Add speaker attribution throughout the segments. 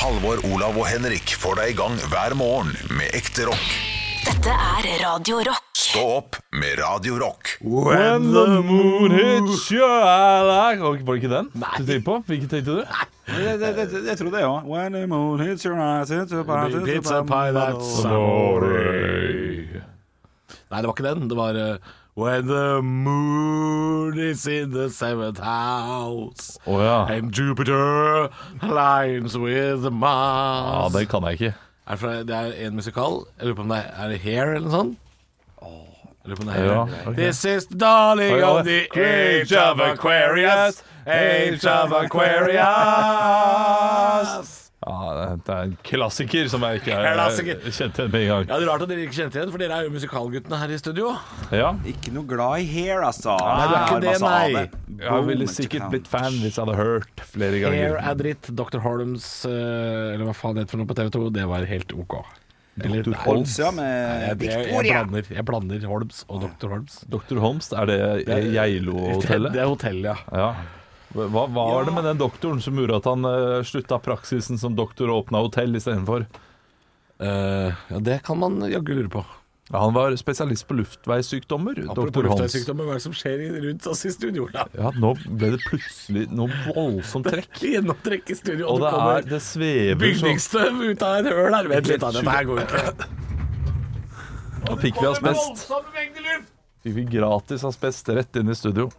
Speaker 1: Halvor, Olav og Henrik får deg i gang hver morgen med ekte rock.
Speaker 2: Dette er Radio Rock.
Speaker 1: Stå opp med Radio Rock.
Speaker 3: When the moon hits your eye like Var det ikke den du tenkte på? Hvilken tenkte du?
Speaker 4: Jeg, jeg, jeg, jeg tror det, ja. When the moon hits your eyes it's a party, it's a
Speaker 5: Pizza pie, that's amore. Nei, det var ikke den. Det var eh, When the moon is in the seventh house
Speaker 3: Å ja.
Speaker 5: And Jupiter aligns with
Speaker 3: ja.
Speaker 5: Mars
Speaker 3: Den kan jeg ikke.
Speaker 5: er det, fra, det er en musikal. Jeg lurer på om det er, er det Hair eller noe sånt. Jeg lurer på om det er Hair.
Speaker 3: Ja, ok.
Speaker 5: This is the darling
Speaker 3: Ja,
Speaker 5: of the age of Aquarius. Age of Aquarius.
Speaker 3: Ja, det er en klassiker som jeg ikke
Speaker 5: Klassiker.
Speaker 3: jeg kjente igjen med en gang.
Speaker 5: Ja, det er Rart at dere ikke kjente igjen, for dere er jo musikalguttene her i studio.
Speaker 3: Ja.
Speaker 4: Ikke noe glad i hair, altså.
Speaker 5: du er ikke det,
Speaker 4: masse av
Speaker 5: nei.
Speaker 4: det.
Speaker 3: Jeg ville
Speaker 4: Boom,
Speaker 3: sikkert
Speaker 4: chicka.
Speaker 3: blitt fan hvis jeg hadde hørt flere
Speaker 5: Hair
Speaker 3: ganger.
Speaker 5: er dritt. Dr. Holmes, eh, eller hva faen det het for noe på TV 2, det var helt ok. Eller
Speaker 3: Dr.
Speaker 5: nei,
Speaker 3: Holmes,
Speaker 4: Ja,
Speaker 5: Jeg,
Speaker 4: med
Speaker 5: jeg, jeg,
Speaker 4: Victoria.
Speaker 5: blander, jeg blander Holmes og Dr. Holmes.
Speaker 3: Dr. Holmst, er det
Speaker 5: Det
Speaker 3: Geilo-hotellet?
Speaker 5: er hotell, ja.
Speaker 3: Ja. Hva, hva var det med den doktoren som gjorde at han eh, slutta praksisen som doktor og åpna hotell istedenfor?
Speaker 5: Eh, ja. Det kan man jaggu lure på.
Speaker 3: Ja, Han var spesialist på luftveissykdommer,
Speaker 5: Apropos
Speaker 3: doktor Holms.
Speaker 5: luftveissykdommer, hva er det som skjer i- rundt oss i studio? Da?
Speaker 3: Ja, nå ble det plutselig noe voldsomt trekk.
Speaker 5: Gjennomtrekk i studio, og,
Speaker 3: Og det,
Speaker 5: det kommer
Speaker 3: er, det svever så
Speaker 5: bygningsstøv ut av et høl her. Vent litt, da. Dette her går ikke.
Speaker 3: Nå fikk vi asbest. Fikk vi gratis asbest rett inn i studio.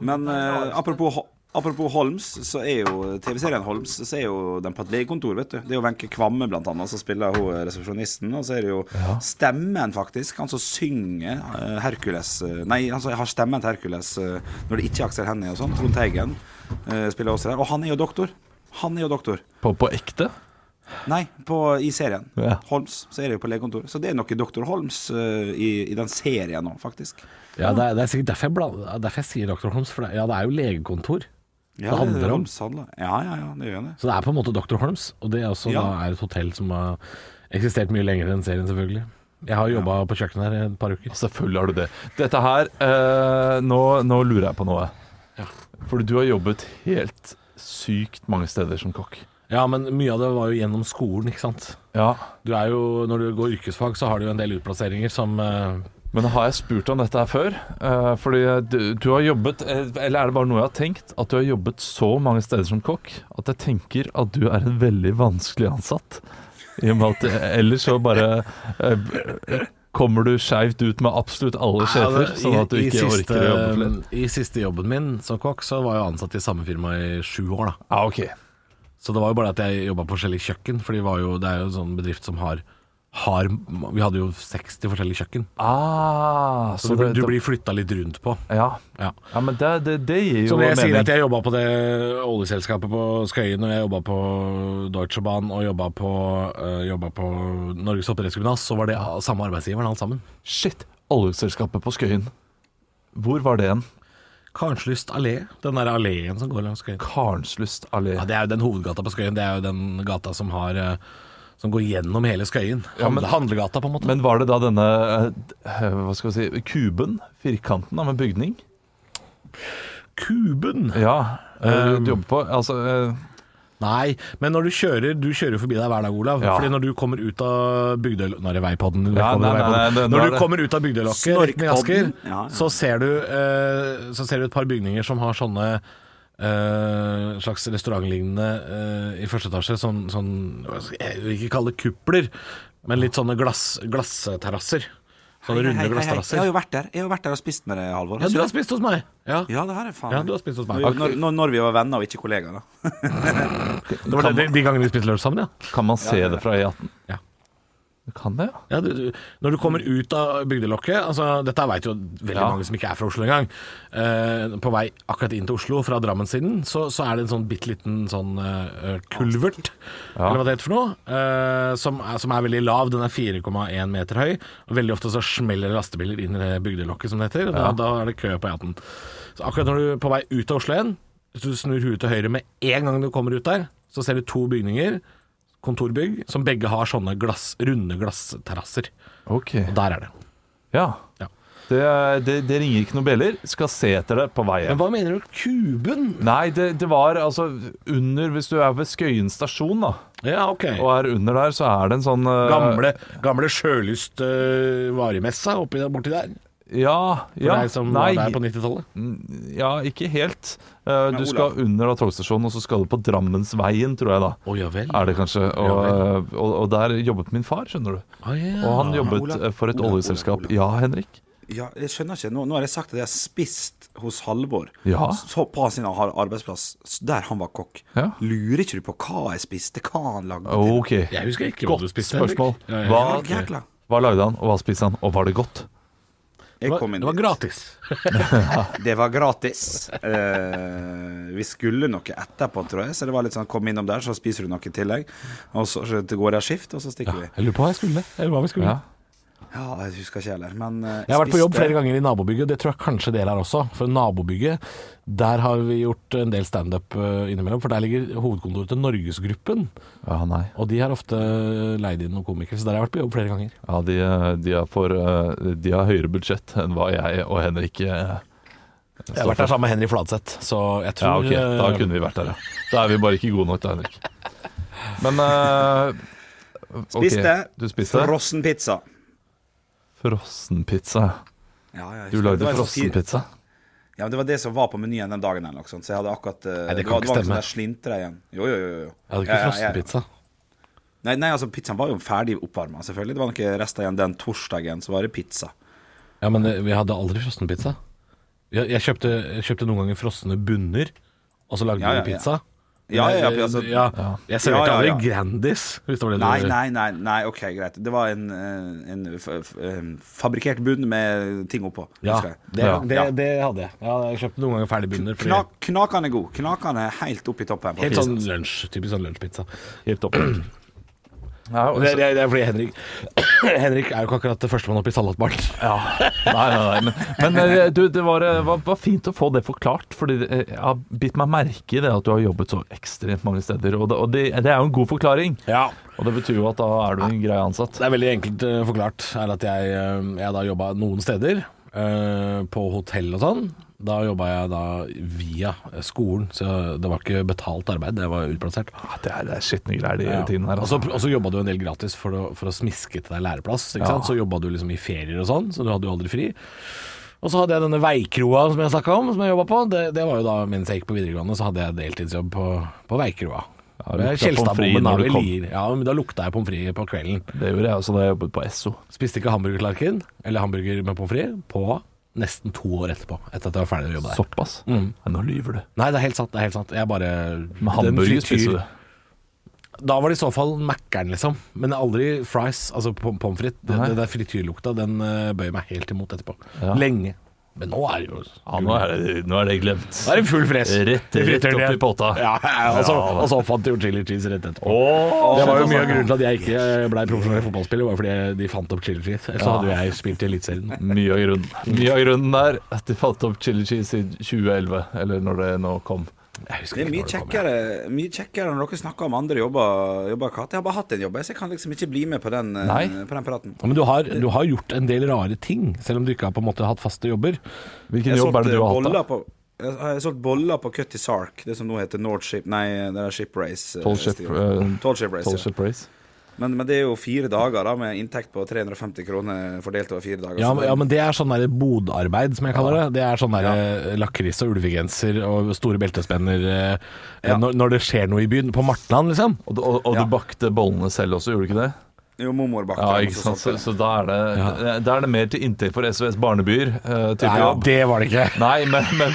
Speaker 4: Men eh, apropos, Ho- apropos Holms, så er jo TV-serien Holms Så er jo den på et legekontor, vet du. Det er jo Wenche Kvamme, blant annet, som spiller hun eh, resepsjonisten. Og så er det jo stemmen, faktisk. Han som synger eh, Hercules eh, Nei, han som har stemmen til Hercules eh, når det ikke er Aksel Hennie og sånn. Trond Teigen eh, spiller også der. Og han er jo doktor. Han er jo doktor.
Speaker 3: På, på ekte?
Speaker 4: Nei, på, i serien.
Speaker 3: Ja.
Speaker 4: Holms. Så er det jo på legekontor. Så det er noe Dr. Holms eh, i, i den serien nå, faktisk.
Speaker 5: Ja, det er, det er sikkert derfor jeg, blander, derfor jeg sier Dr. Holms, for det, ja, det er jo legekontor.
Speaker 4: Ja,
Speaker 5: Det handler om-
Speaker 4: Holmes handler. Ja, ja, ja, det gjør det.
Speaker 5: Så det er på en måte Dr. Holms, og det er også
Speaker 4: Ja.
Speaker 5: da er et hotell som har eksistert mye lenger enn serien, selvfølgelig. Jeg har jobba på kjøkkenet her i et par uker.
Speaker 3: Selvfølgelig har du det. Dette her eh, nå, nå lurer jeg på noe.
Speaker 5: Ja.
Speaker 3: Fordi du har jobbet helt sykt mange steder som kokk.
Speaker 5: Ja, men mye av det var jo gjennom skolen, ikke sant.
Speaker 3: Ja.
Speaker 5: Du er jo, når du går yrkesfag, så har du jo en del utplasseringer som eh,
Speaker 3: Men har jeg spurt om dette her før? Eh, fordi du, du har jobbet eh, Eller er det bare noe jeg har tenkt? At du har jobbet så mange steder som kokk at jeg tenker at du er en veldig vanskelig ansatt. I og med at eh, ellers så bare eh, b- kommer du skeivt ut med absolutt alle sjefer,
Speaker 5: Altså,
Speaker 3: sånn
Speaker 5: i-
Speaker 3: at du
Speaker 5: i
Speaker 3: ikke
Speaker 5: siste- eh, um,
Speaker 3: orker å jobbe flere.
Speaker 5: I siste jobben min som kokk, så var jeg ansatt i samme firma i sju år, da.
Speaker 3: Ja, Ah, ok.
Speaker 5: Så det var jo bare at jeg jobba på forskjellige kjøkken, for det, var jo, det er jo en sånn bedrift som har, har Vi hadde jo 60 forskjellige kjøkken,
Speaker 3: Ah,
Speaker 5: så, du, du blir flytta litt rundt på.
Speaker 3: Ja,
Speaker 5: Ja.
Speaker 3: ja men det, det, det gir jo
Speaker 5: Så når jeg sier
Speaker 3: mening.
Speaker 5: at jeg jobba på det oljeselskapet på Skøyen, og jeg jobba på Deutsche Bahn og jobba på, øh, jobbet på Norges Oppdrettsgymnas, så var det samme arbeidsgiveren alt sammen.
Speaker 3: Shit, oljeselskapet på Skøyen. Hvor var det en?
Speaker 5: Karnslyst allé, den der alléen som går langs Skøyen.
Speaker 3: Karnslyst allé.
Speaker 5: Ja, det er jo den hovedgata på Skøyen. Det er jo den gata som har eh, Som går gjennom hele Skøyen.
Speaker 3: Ja, men-
Speaker 5: Handle- Handlegata, på en måte.
Speaker 3: Men var det da denne eh, hva skal vi si, kuben, firkanten av en bygning?
Speaker 5: Kuben!
Speaker 3: Ja, eh,
Speaker 5: ehm,
Speaker 3: du jobber på altså, eh,
Speaker 5: Nei, men når du kjører Du kjører jo forbi deg hver dag, Olav.
Speaker 3: Ja.
Speaker 5: Fordi når du kommer ut av Bygdøylokket Nå er det veipodden.
Speaker 3: Ja,
Speaker 5: velkommen til
Speaker 3: nei, nei,
Speaker 5: veipodden.
Speaker 3: nei, det- nå er
Speaker 5: når du
Speaker 3: det-
Speaker 5: kommer ut av Bygdøylokket rett ned i Asker,
Speaker 4: Snorkpodden. Ja, ja.
Speaker 5: så, ser du, eh, så ser du et par bygninger som har sånne eh, slags restaurantlignende eh, i første etasje. Sånn, sånn hva skal Jeg jeg vil ikke kalle det kupler, men litt sånne glass, glassterrasser. Sånne
Speaker 4: Hei,
Speaker 5: runde
Speaker 4: hei, hei, hei. Jeg
Speaker 5: glassterrasser.
Speaker 4: har jo vært der Jeg har jo vært der og spist med deg, Halvor.
Speaker 5: Ja, du har spist hos meg. Ja,
Speaker 4: Ja, det har jeg faen.
Speaker 5: ja du har spist hos meg.
Speaker 4: Når- når, når, når vi var venner og ikke kollegaer, da.
Speaker 5: Det var de, de gangene vi spiste lunsj sammen, ja.
Speaker 3: Kan man se det fra E18?
Speaker 5: Ja.
Speaker 3: Du kan det, ja.
Speaker 5: ja du, du, når du kommer ut av bygdelokket altså, Dette veit jo veldig
Speaker 3: Ja.
Speaker 5: mange som ikke er fra Oslo engang. Eh, på vei akkurat inn til Oslo fra Drammenssiden, så, så er det en sånn bitte liten sånn eh, kulvert, eller hva det heter for noe, eh, som, er, som er veldig lav. Den er 4,1 meter høy. Og veldig ofte så smeller lastebiler inn i det bygdelokket, som det heter. Og da, da er det kø på E18. Så akkurat når du er på vei ut av Oslo igjen, hvis du snur huet til høyre med en gang du kommer ut der, så ser du to bygninger. Kontorbygg som begge har sånne glass, runde glassterrasser.
Speaker 3: Ok.
Speaker 5: Og der er det.
Speaker 3: Ja.
Speaker 5: Ja.
Speaker 3: Det, det, det ringer ikke noen bjeller. Skal se etter det på vei
Speaker 5: Men
Speaker 3: hjem.
Speaker 5: hva mener du? Kuben?
Speaker 3: Nei, det, det var altså under Hvis du er ved Skøyen stasjon, da,
Speaker 5: Ja, ok.
Speaker 3: og er under der, så er det en sånn eh,
Speaker 5: Gamle, gamle sjølyst øh, varemessa oppi, borti der.
Speaker 3: Ja.
Speaker 5: For
Speaker 3: ja
Speaker 5: deg som
Speaker 3: nei,
Speaker 5: var der på 90-tallet.
Speaker 3: ja, ikke helt. Eh, du
Speaker 4: Olav.
Speaker 3: skal under da togstasjonen, og så skal du på Drammensveien, tror jeg, da.
Speaker 5: Å ja vel.
Speaker 3: Er det kanskje. Og, og, og der jobbet min far, skjønner du.
Speaker 5: Ah, ja.
Speaker 3: Og han jobbet
Speaker 4: Olav.
Speaker 3: eh, for et
Speaker 4: Olav,
Speaker 3: oljeselskap.
Speaker 4: Olav, Olav.
Speaker 3: Ja, Henrik?
Speaker 4: Ja, jeg skjønner ikke. Nå, nå har jeg sagt at jeg har spist hos Halvor.
Speaker 3: Ja.
Speaker 4: Så på sin har- arbeidsplass, s- der han var kokk.
Speaker 3: Ja.
Speaker 4: Lurer ikke du på hva jeg spiste, hva han lagde til?
Speaker 3: OK.
Speaker 5: Jeg husker ikke hva
Speaker 3: Godt
Speaker 5: du spiste. Henrik.
Speaker 3: spørsmål.
Speaker 5: Ja, ja,
Speaker 3: Hva,
Speaker 5: ja.
Speaker 4: Jækla.
Speaker 3: hva lagde han, og hva spiste han, og var det godt?
Speaker 4: Jeg
Speaker 5: Det var,
Speaker 4: kom inn
Speaker 5: det var
Speaker 4: dit.
Speaker 5: gratis.
Speaker 4: Det var gratis. Eh, vi skulle noe etterpå, tror jeg. Så det var litt sånn kom innom der, så spiser du noe i tillegg. Og så så går det skift, og så stikker vi.
Speaker 5: Jeg lurer på hva jeg skulle. Eller hva vi skulle.
Speaker 3: Ja.
Speaker 4: Ja, jeg husker ikke heller. Men eh,
Speaker 5: Jeg har vært på jobb flere ganger i nabobygget, det tror jeg kanskje dere er også. For nabobygget, der har vi gjort en del standup eh, innimellom. For der ligger hovedkontoret til Norgesgruppen,
Speaker 3: Ja, nei.
Speaker 5: og de har ofte leid inn noen komikere. Så der har jeg vært på jobb flere ganger.
Speaker 3: Ja, de, de, har for, eh, de har høyere budsjett enn hva jeg og Henrik eh,
Speaker 5: Jeg har vært der sammen med Henry Fladseth, så jeg
Speaker 3: Ja,
Speaker 5: tror
Speaker 3: ok, da
Speaker 5: eh,
Speaker 3: kunne vi vært der, ja. Da er vi bare ikke gode nok da, Henrik. Men eh, ok,
Speaker 4: Spiste,
Speaker 3: Du spiste
Speaker 4: frossen pizza.
Speaker 3: frossenpizza.
Speaker 4: Ja, ja, jeg
Speaker 3: Du
Speaker 4: husker. Det
Speaker 3: lagde
Speaker 4: var en sånn fir-
Speaker 3: frossenpizza?
Speaker 4: Ja, men Det var det som var på menyen den dagen. Eller, noe sånt, så jeg hadde akkurat eh,
Speaker 5: Nei, det kan
Speaker 4: var-
Speaker 5: ikke
Speaker 4: var
Speaker 5: stemme.
Speaker 4: Sånn der slintre igjen. Jo, jo, jo. jo.
Speaker 5: Jeg hadde
Speaker 4: Ja,
Speaker 5: ikke
Speaker 4: ja, ja.
Speaker 5: frossenpizza.
Speaker 4: Nei, nei, altså, pizzaen var jo ferdig oppvarma, selvfølgelig. Det var noen rester igjen den torsdagen, så var det pizza.
Speaker 5: Ja, men eh, vi hadde aldri frossenpizza. Jeg, jeg, kjøpte, jeg kjøpte noen ganger frosne bunner, og så lagde
Speaker 4: Ja,
Speaker 5: vi
Speaker 4: ja, ja.
Speaker 5: pizza.
Speaker 4: Ja, ja, ja,
Speaker 5: Men, eh,
Speaker 4: altså-
Speaker 5: ja. Jeg
Speaker 4: Ja,
Speaker 5: serverte
Speaker 4: ja,
Speaker 5: aldri
Speaker 4: ja.
Speaker 5: Grandis, hvis det var det
Speaker 4: Nei,
Speaker 5: du
Speaker 4: nei, nei, nei, ok, greit. Det var en, eh, en, f f en fabrikkert bunn med ting oppå.
Speaker 5: Ja,
Speaker 4: husker jeg.
Speaker 5: det,
Speaker 3: Ja.
Speaker 5: det, det hadde jeg. Ja, jeg kjøpte noen ganger ferdig bunner. fordi-
Speaker 4: Knak, knakene er god. Knakene er helt opp i toppen. på
Speaker 5: Helt
Speaker 4: pizza.
Speaker 5: sånn lunsj, typisk sånn lunsjpizza.
Speaker 3: Helt opp. Nei, og
Speaker 5: Det,
Speaker 3: så-
Speaker 5: det, det er fordi Henrik Henrik er jo ikke akkurat førstemann opp i salatbaren.
Speaker 3: Nei, nei, nei. Men, men eh, du, det var, eh, var, var fint å få det forklart, Fordi det, eh, jeg har bitt meg merke i det at du har jobbet så ekstremt mange steder. Og det, og det, det er jo en god forklaring,
Speaker 5: Ja.
Speaker 3: og det betyr jo at da er du en grei ansatt.
Speaker 5: Det er veldig enkelt eh, forklart. Er at jeg, eh, jeg da jobba noen steder, eh, på hotell og sånn. Da jobba jeg da via skolen, så det var ikke betalt arbeid, det var utplassert.
Speaker 3: Ja, Det er, det er skitne greier, de tingene her.
Speaker 5: Og
Speaker 3: Altså.
Speaker 5: så- Og så jobba du en del gratis for å, for å smiske til deg læreplass. Ikke
Speaker 3: Ja.
Speaker 5: sant? Så jobba du liksom i ferier og sånn, så du hadde jo aldri fri. Og så hadde jeg denne veikroa som jeg snakka om, som jeg jobba på. Det, det var jo da mens jeg gikk på videregående, så hadde jeg deltidsjobb på, på veikroa. Ved
Speaker 3: Ja, lukta pommes frites
Speaker 5: Kjelstadbommen, da,
Speaker 3: når du
Speaker 5: ved
Speaker 3: kom.
Speaker 5: Lier. Ja, men da lukta jeg pommes frites på kvelden.
Speaker 3: Det gjorde jeg også da jeg jobbet på Esso.
Speaker 5: Spiste ikke hamburgertallerken eller hamburger med pommes frites på nesten to år etterpå. Etter at jeg var ferdig å jobbe der. Mm.
Speaker 3: Såpass. Nei, nå lyver du.
Speaker 5: Nei, det er helt sant. det er helt sant Jeg bare
Speaker 3: Med
Speaker 5: den
Speaker 3: hamburger
Speaker 5: frityr-
Speaker 3: spiser du.
Speaker 5: Da var det i så fall Mækkern, liksom. Men aldri fries, altså pom- pommes frites. Den,
Speaker 3: Nei.
Speaker 5: den der frityrlukta, den eh, bøyer meg helt imot etterpå.
Speaker 3: Ja.
Speaker 5: Lenge. Men nå er det jo
Speaker 3: Ja, nå er det, nå er det glemt.
Speaker 5: Da er det full fres.
Speaker 3: Rett- rett
Speaker 5: I frityren
Speaker 3: opp
Speaker 5: igjen.
Speaker 3: i potta.
Speaker 5: Ja, ja, og så,
Speaker 3: Ja, da. altså.
Speaker 5: og så fant de jo chili cheese rett etterpå.
Speaker 3: Åh,
Speaker 5: Det var jo mye av grunnen til at jeg ikke ble profesjonell fotballspiller, var fordi de fant opp chili cheese. Ellers så hadde jo jeg spilt i Eliteserien.
Speaker 3: Mye av grunnen. Mye av grunnen der at de falt opp chili cheese i 2011, eller når det nå kom.
Speaker 5: Jeg husker
Speaker 4: Det er
Speaker 5: ikke
Speaker 4: mye
Speaker 5: når kom, jeg.
Speaker 4: kjekkere, mye kjekkere når dere snakker om andre jobber. jobber Kat. Jeg har bare hatt en jobb, jeg, så jeg kan liksom ikke bli med på den, eh,
Speaker 3: Nei.
Speaker 4: på den praten.
Speaker 5: Ja, men du har, du har gjort en del rare ting, selv om du ikke har på en måte hatt faste jobber.
Speaker 3: Hvilken
Speaker 4: Jeg
Speaker 3: jobb er
Speaker 4: solgte
Speaker 3: det du har hatt,
Speaker 4: boller
Speaker 3: da?
Speaker 4: på jeg har solgt boller på Cutty Sark, det som nå heter Nordship Nei, det er Ship Race. eh,
Speaker 3: Tall Ship,
Speaker 4: stil.
Speaker 3: eh,
Speaker 4: Tall Ship Race, ja.
Speaker 3: Tolship Race?
Speaker 4: Men, men det er jo fire dager da med inntekt på 350 kroner fordelt over fire dager.
Speaker 5: Ja,
Speaker 4: så
Speaker 5: men,
Speaker 4: det-
Speaker 5: ja, men det er sånn der bodarbeid, som jeg kaller det. Det er sånn der eh, lakris og ulvegenser og store beltespenner eh,
Speaker 4: Ja.
Speaker 5: når, når det skjer noe i byen. På Martland, liksom.
Speaker 3: Og, du- og, og
Speaker 4: Ja.
Speaker 3: du bakte bollene selv også, gjorde du ikke det?
Speaker 4: Jo, mormor bakte
Speaker 3: Ja,
Speaker 4: dem,
Speaker 3: ikke
Speaker 4: så
Speaker 3: sant?
Speaker 4: solgte
Speaker 3: Så, så
Speaker 4: jeg
Speaker 3: da, er det, da er det mer til inntekt for SOS Barnebyer. eh, type
Speaker 5: Nei,
Speaker 3: jobb.
Speaker 5: det var det ikke.
Speaker 3: Nei, men, men,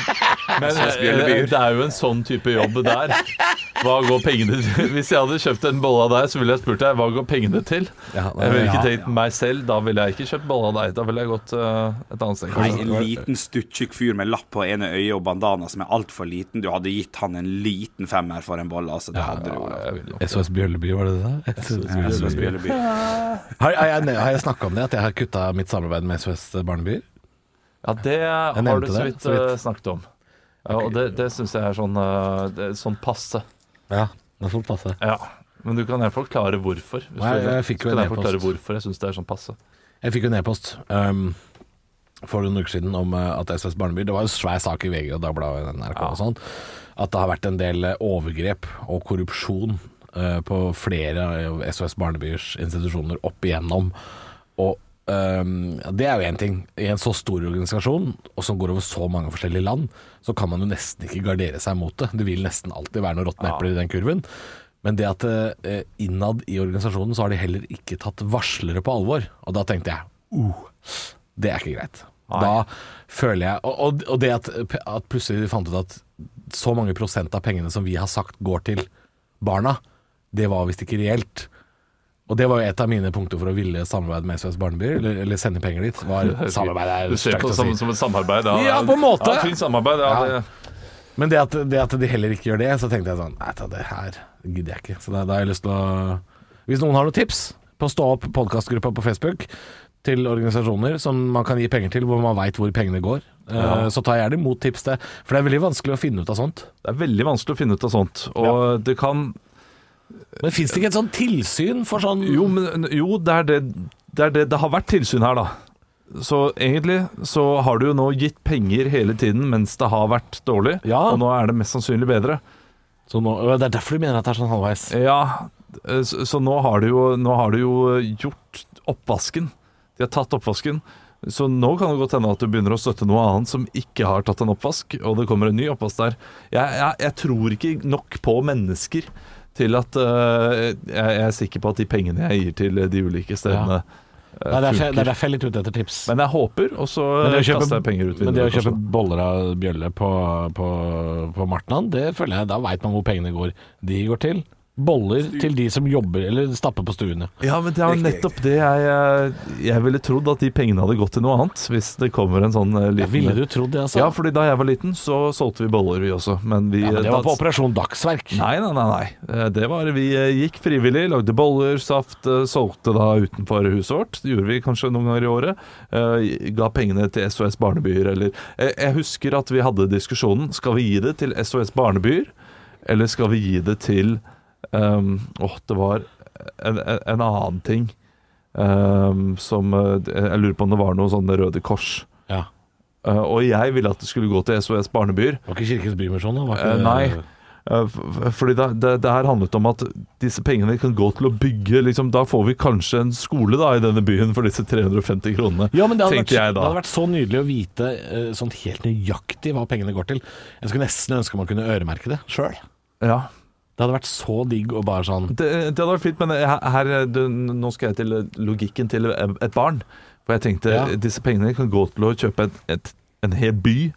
Speaker 3: men eh,
Speaker 4: Bjørnebyer.
Speaker 3: det er jo en sånn type jobb der. Hva går pengene til? Hvis jeg hadde kjøpt en bolle av deg, så ville jeg spurt deg hva går pengene til?
Speaker 5: Ja, nei,
Speaker 3: Jeg ville ikke
Speaker 5: ja,
Speaker 3: tenkt meg selv, da ville jeg ikke kjøpt bolle av deg. Da ville jeg gått eh, et annet sted.
Speaker 4: Nei,
Speaker 3: kanskje.
Speaker 4: en liten stuttjukk fyr med lapp på ene øyet og bandana som er altfor liten. Du hadde gitt han en liten femmer for en bolle, altså. Det hadde du,
Speaker 3: Ja,
Speaker 4: Olav.
Speaker 3: jeg vil jo.
Speaker 5: SOS Bjølleby, var det det? SOS
Speaker 4: Ja, så
Speaker 5: Bjølleby.
Speaker 4: spiller by.
Speaker 5: Har, har jeg, har jeg snakka om det, at jeg har kutta mitt samarbeid med SOS Barnebyer?
Speaker 3: Ja, det har
Speaker 5: nevnte
Speaker 3: du så
Speaker 5: det,
Speaker 3: vidt,
Speaker 5: så vidt.
Speaker 3: eh, snakket om. Ja, og det, det syns jeg er sånn, eh, det er sånn passe.
Speaker 5: Ja, det får passe.
Speaker 3: Ja. Men du kan gjerne forklare hvorfor. Hvis
Speaker 5: Nei,
Speaker 3: du vil.
Speaker 5: jeg fikk jo
Speaker 3: Så kan
Speaker 5: en
Speaker 3: jeg forklare
Speaker 5: e-post.
Speaker 3: hvorfor jeg syns det er sånn passe.
Speaker 5: Jeg fikk jo en e-post um, for noen uker siden om eh, at SS Barneby Det var en svær sak i VG og Dagbladet og NRK og sånn. At det har vært en del eh, overgrep og korrupsjon eh, på flere av SOS Barnebyers institusjoner opp igjennom. Og ehm, det er jo én ting. I en så stor organisasjon, og som går over så mange forskjellige land, så kan man jo nesten ikke gardere seg mot det. Det vil nesten alltid være noen råtne epler i den kurven. Men det at eh, innad i organisasjonen så har de heller ikke tatt varslere på alvor. Og da tenkte jeg uh, det er ikke greit. Da føler jeg Og, og- og det at, at plutselig vi fant ut at så mange prosent av pengene som vi har sagt går til barna, det var visst ikke reelt. Og det var jo et av mine punkter for å ville samarbeide med SOS Barneby, eller, eller sende penger dit. Var samarbeid er
Speaker 3: Du ser
Speaker 5: sterkt
Speaker 3: på
Speaker 5: å
Speaker 3: det
Speaker 5: si.
Speaker 3: som, som et samarbeid? Ja,
Speaker 5: Ja, på en måte.
Speaker 3: Ja, fint samarbeid. Ja,
Speaker 5: Ja.
Speaker 3: det,
Speaker 5: Men det at, det at de heller ikke gjør det, så tenkte jeg sånn Nei, ta det her gidder jeg ikke. Så da, da har jeg lyst til å Hvis noen har noen tips på Stå opp podkastgruppa på Facebook til organisasjoner som man kan gi penger til, hvor man veit hvor pengene går, eh, så tar jeg gjerne imot tips til For det er veldig vanskelig å finne ut av sånt.
Speaker 3: det er veldig vanskelig å finne ut av sånt. Og det kan
Speaker 5: Men fins det ikke et sånn tilsyn for sånn
Speaker 3: Jo, men, jo det, er det, det er det Det har vært tilsyn her, da. Så egentlig så har du jo nå gitt penger hele tiden mens det har vært dårlig,
Speaker 5: Ja.
Speaker 3: og nå er det mest sannsynlig bedre.
Speaker 5: Så nå, øh, Det er derfor du mener at det er sånn halvveis.
Speaker 3: Ja, eh, så, så nå, har du jo, nå har du jo eh, gjort oppvasken. De har tatt oppvasken. Så nå kan det godt hende at du begynner å støtte noe annet som ikke har tatt en oppvask, og det kommer en ny oppvask der. Jeg, jeg, jeg tror ikke nok på mennesker til at eh, jeg, jeg er sikker på at de pengene jeg gir til de ulike stedene eh,
Speaker 5: Det er derfor, jeg- det
Speaker 3: funker.
Speaker 5: er derfor jeg er litt ute etter tips.
Speaker 3: Men jeg håper, og så
Speaker 5: Men det å
Speaker 3: kaster
Speaker 5: kjøpe,
Speaker 3: jeg penger ut
Speaker 5: men det å
Speaker 3: vinduet. altså.
Speaker 5: kjøpe
Speaker 3: kanskje.
Speaker 5: boller av bjølle på, på, på Martnan, det føler jeg Da veit man hvor pengene går. De går til boller til de som jobber eller stapper på stuene.
Speaker 3: Ja, men det er jo nettopp det jeg eh, Jeg ville trodd at de pengene hadde gått til noe annet, hvis det kommer en sånn eh, liten
Speaker 5: Ville du trodd det, altså?
Speaker 3: Ja, fordi da jeg var liten, så solgte vi boller, vi også. Men vi
Speaker 5: Ja, men det var
Speaker 3: da-
Speaker 5: på Operasjon Dagsverk.
Speaker 3: Nei, nei, nei. nei. Eh, Det var Vi eh, gikk frivillig, lagde boller, saft, eh, solgte da utenfor huset vårt. Det gjorde vi kanskje noen ganger i året. Eh, Ga pengene til SOS Barnebyer eller Eh, Jeg husker at vi hadde diskusjonen. Skal vi gi det til SOS Barnebyer, eller skal vi gi det til ehm, Åh, det var en, en, en annen ting ehm, som eh, Jeg lurer på om det var noe sånn Røde Kors.
Speaker 5: Ja.
Speaker 3: Eh, og jeg ville at det skulle gå til SOS Barnebyer.
Speaker 5: Det var ikke Kirkens Bymisjon, da? Var
Speaker 3: Eh,
Speaker 5: ikke,
Speaker 3: nei. Eh, f- f- Fordi det, det, det her handlet om at disse pengene kan gå til å bygge liksom, Da får vi kanskje en skole da i denne byen for disse 350 kronene,
Speaker 5: Ja, men det hadde, vært,
Speaker 3: tenkte jeg
Speaker 5: det
Speaker 3: da.
Speaker 5: hadde vært så nydelig å vite eh, sånn helt nøyaktig hva pengene går til. Jeg skulle nesten ønske man kunne øremerke det sjøl.
Speaker 3: ja.
Speaker 5: Det hadde vært så digg og bare sånn
Speaker 3: det, det hadde vært fint, men her, her- eh, du, nå skal jeg til eh, logikken til et barn. For jeg tenkte eh,
Speaker 5: Ja.
Speaker 3: disse pengene kan gå til å kjøpe et, et, en hel by.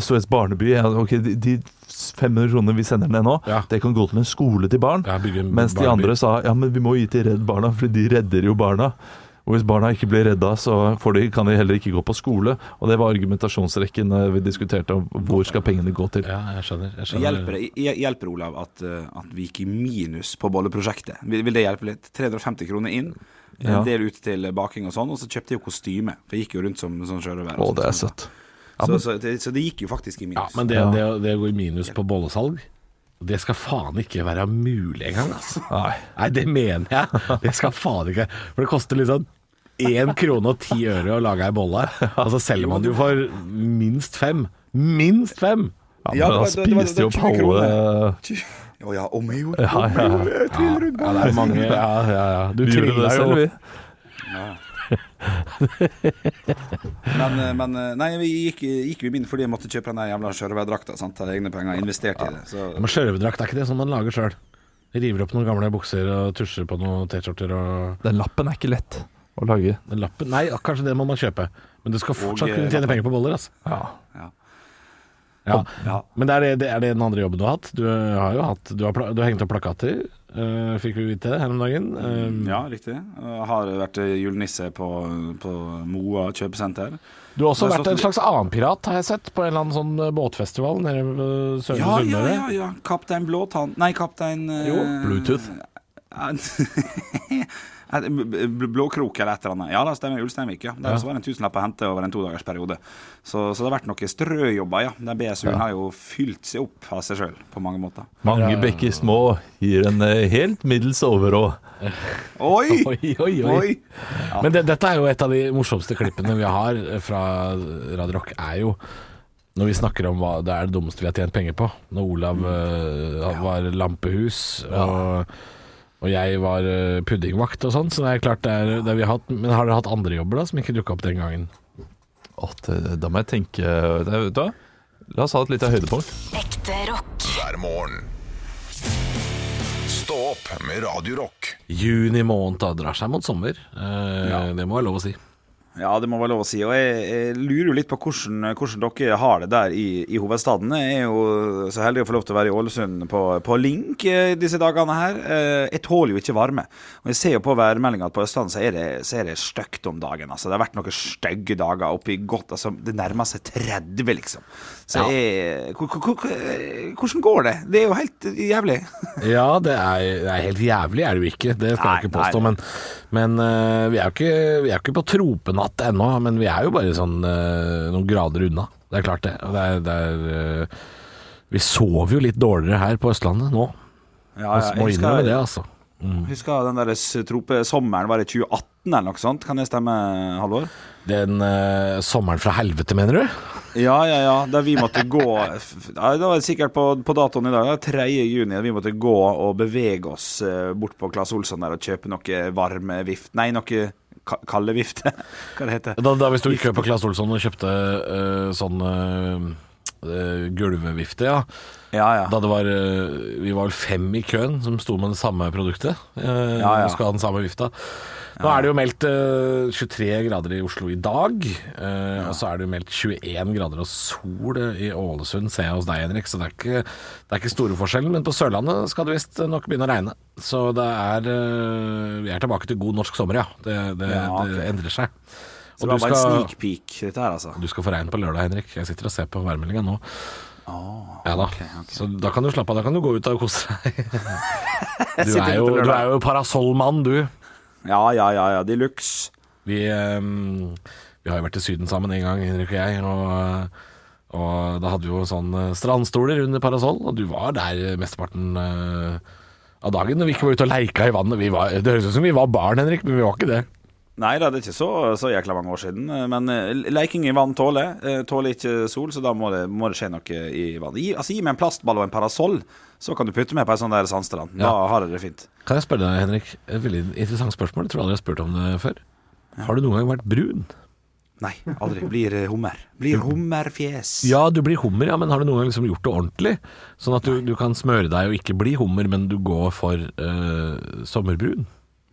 Speaker 3: SOS Barneby. ja, Ok, de, de 500 kronene vi sender ned nå,
Speaker 5: Ja.
Speaker 3: det kan gå til en skole til barn.
Speaker 5: Ja, bygge en
Speaker 3: Mens de
Speaker 5: barneby.
Speaker 3: andre sa ja, men vi må gi til Redd Barna, for de redder jo barna. Og hvis barna ikke blir redda, så får de, kan de heller ikke gå på skole. Og det var argumentasjonsrekken eh, vi diskuterte om hvor skal pengene gå til.
Speaker 5: Ja, jeg skjønner. Jeg skjønner.
Speaker 4: Hjelper det, hj- hjelper det, Olav, at, eh, at vi gikk i minus på bolleprosjektet? Vil, vil det hjelpe litt? 350 kroner inn,
Speaker 3: Ja.
Speaker 4: en del ut til baking og sånn, og så kjøpte jeg jo kostyme. For jeg gikk jo rundt som sånn sjørøver.
Speaker 3: Å,
Speaker 4: og
Speaker 3: det
Speaker 4: sånn.
Speaker 3: er søtt.
Speaker 4: Så, så, det, så det gikk jo faktisk i minus.
Speaker 5: Ja, men det, det, det å gå i minus på bollesalg, det skal faen ikke være mulig engang, altså.
Speaker 3: Nei.
Speaker 5: Nei, det mener jeg. Det skal faen ikke For det koster liksom én krone og ti øre å lage ei bolle. Og så selger man det jo for minst fem. Minst fem!
Speaker 4: Ja,
Speaker 3: Ja, men han
Speaker 4: det var- det var- det var-
Speaker 3: spiste jo opp
Speaker 4: 20
Speaker 3: halve
Speaker 4: kroner. Å ja, om jeg gjorde om jeg gjorde det, trill rundt
Speaker 5: Ja, det er mange Ja, ja, ja. Du
Speaker 3: Vi gjorde det
Speaker 5: trilla
Speaker 3: selv,
Speaker 5: jo.
Speaker 3: vi.
Speaker 4: Men, eh, men eh, nei, vi gikk, gikk jo i min fordi jeg måtte kjøpe den der jævla sjørøverdrakta. sant? Hadde egne penger, investert i det. Så
Speaker 5: Ja, Men sjørøverdrakt er ikke det som man lager sjøl. River opp noen gamle bukser og tusjer på noen T-skjorter og
Speaker 3: Den lappen er ikke lett å lage.
Speaker 5: den lappen Nei, kanskje det må man kjøpe. Men du skal fortsatt
Speaker 4: eh,
Speaker 5: kunne tjene penger på boller, altså.
Speaker 3: Ja.
Speaker 5: Ja.
Speaker 4: Ja.
Speaker 5: Men det er det, det er det den andre jobben du har hatt? Du eh, har jo hatt Du har, pla- du har hengt opp plakater, eh, fikk vi vite her om dagen. Eh,
Speaker 4: ja, riktig. Jeg har vært eh, julenisse på, på Moa kjøpesenter.
Speaker 5: Du har også
Speaker 4: Det er
Speaker 5: vært
Speaker 4: sånn-
Speaker 5: en slags annen pirat, har jeg sett, på en eller annen sånn eh, båtfestival nede ved Sørlige
Speaker 4: Ja, ja,
Speaker 5: Sunnmøre.
Speaker 4: ja. ja. Kaptein Blåtann Nei, kaptein eh,
Speaker 3: Bluetooth.
Speaker 4: Eh, bl- bl- Blåkrok eller et eller annet. Ja da, stemmer. Ulsteinvik, ja. Der også var det en tusenlapp å hente over en todagersperiode. Så, så det har vævært noen strøjobber, ja. Den BSU-en har jo fylt seg opp av seg sjøl på mange måter.
Speaker 3: Mange bekker små gir en eh, helt middels overrå.
Speaker 4: Oi!
Speaker 5: Oi, oi, oi.
Speaker 4: Oi!
Speaker 5: Men det, dette er jo et av de morsomste klippene vi har fra Radio Rock, er jo når vi snakker om hva det er det dummeste vi har tjent penger på. Når Olav eh, han var lampehus, og, og jeg var eh, puddingvakt og sånn. Så det er klart det er, det vi har hatt, Men har dere hatt andre jobber da som ikke dukka opp den gangen?
Speaker 3: Å, det- da må jeg tenke det- da, La oss ha et lite høydepunkt.
Speaker 2: Ekte rock.
Speaker 1: hver morgen. Stå opp med Radio Rock.
Speaker 5: Juni måned da drar seg mot sommer. Eh, Det må være lov å si.
Speaker 4: Ja, det må være lov å si. Og jeg, jeg lurer jo litt på hvordan, hvordan dere har det der i, i hovedstaden. Jeg er jo så heldig å få lov til å være i Ålesund på, på Link eh, disse dagene her. Eh, Jeg tåler jo ikke varme. Og jeg ser jo på værmeldinga at på Østlandet så er det, så er det stygt om dagen. Altså. Det har vært noen stygge dager oppi godt altså, Det nærmer seg 30, liksom. Så jeg, hvor- hvor- hvor- hvordan går det? Det er jo helt jævlig.
Speaker 5: Ja, det er, det er helt jævlig, er det jo ikke. Det skal
Speaker 4: Nei,
Speaker 5: jeg ikke påstå.
Speaker 4: nei.
Speaker 5: Men, men eh, vi, er jo ikke, vi er jo ikke på tropenatt ennå, men vi er jo bare sånn eh, noen grader unna. Det er klart, det. Og det er, det er eh, Vi sover jo litt dårligere her på Østlandet nå.
Speaker 4: Ja,
Speaker 5: Vi må innrømme det, altså.
Speaker 4: Husker den der s- tropesommeren, var det 2018 eller noe sånt? Kan det stemme, Halvor?
Speaker 5: Den eh, sommeren fra helvete, mener du?
Speaker 4: Ja, ja, ja. Der vi måtte gå f- ja, Det var sikkert på, på datoen i dag. da, 3. juni. da Vi måtte gå og bevege oss eh, bort på Claes Olsson der og kjøpe noe varme vift... Nei, noe ka kalde vifte. Hva det heter
Speaker 5: Da, da vi sto i kø på Claes Olsson og kjøpte eh, sånn eh, eh, gulvvifte, ja.
Speaker 4: Ja, ja.
Speaker 5: Da det var eh, Vi var vel fem i køen som sto med det samme produktet. Eh,
Speaker 4: Ja, ja.
Speaker 5: og Skulle ha den samme vifta. Nå er det jo meldt eh, 23 grader i Oslo i dag. eh, Og så er det jo meldt 21 grader og sol eh, i Ålesund, ser jeg hos deg, Henrik. Så det er ikke, det er ikke store forskjellen. Men på Sørlandet skal det visst nok begynne å regne. Så det er eh, Vi er tilbake til god norsk sommer, ja. Det, det,
Speaker 4: Ja, ok.
Speaker 5: det endrer seg.
Speaker 4: Så det
Speaker 5: du
Speaker 4: var bare
Speaker 5: skal-
Speaker 4: en sneak peek, dette her, altså.
Speaker 5: du skal få regn på lørdag, Henrik. Jeg sitter og ser på værmeldinga nå.
Speaker 4: Ah,
Speaker 5: ja da. Så da kan du slappe av. Da kan du gå ut og kose deg. Du er
Speaker 4: sitter ute
Speaker 5: jo,
Speaker 4: lørdag.
Speaker 5: du er jo parasollmann, du.
Speaker 4: Ja, ja, ja, ja. De luxe.
Speaker 5: Vi, ehm, vi har jo vært i Syden sammen en gang, Henrik og jeg. Og, og da hadde vi jo sånn eh, strandstoler under parasoll, og du var der mesteparten eh, av dagen. Når vi ikke var ute og leika i vannet. Vi var, det høres ut som vi var barn, Henrik, men vi var ikke det.
Speaker 4: Nei da, det er ikke så, så jækla mange år siden. eh, Men eh, leiking i vann tåler. eh, Tåler ikke sol, så da må det, må det skje noe i vann. Gi, altså, gi meg en plastball og en parasoll, så kan du putte meg på en sånn der sandstrand. Da har jeg det fint.
Speaker 5: Kan jeg spørre deg, Henrik, et veldig interessant spørsmål. Jeg tror aldri jeg har spurt om det før. Har du noen gang vært brun?
Speaker 4: Nei, aldri. Blir eh, hummer. Blir hummerfjes.
Speaker 5: Ja, du blir hummer, ja, men har du noen gang liksom gjort det ordentlig? Sånn at du, du kan smøre deg og ikke bli hummer, men du går for eh, sommerbrun?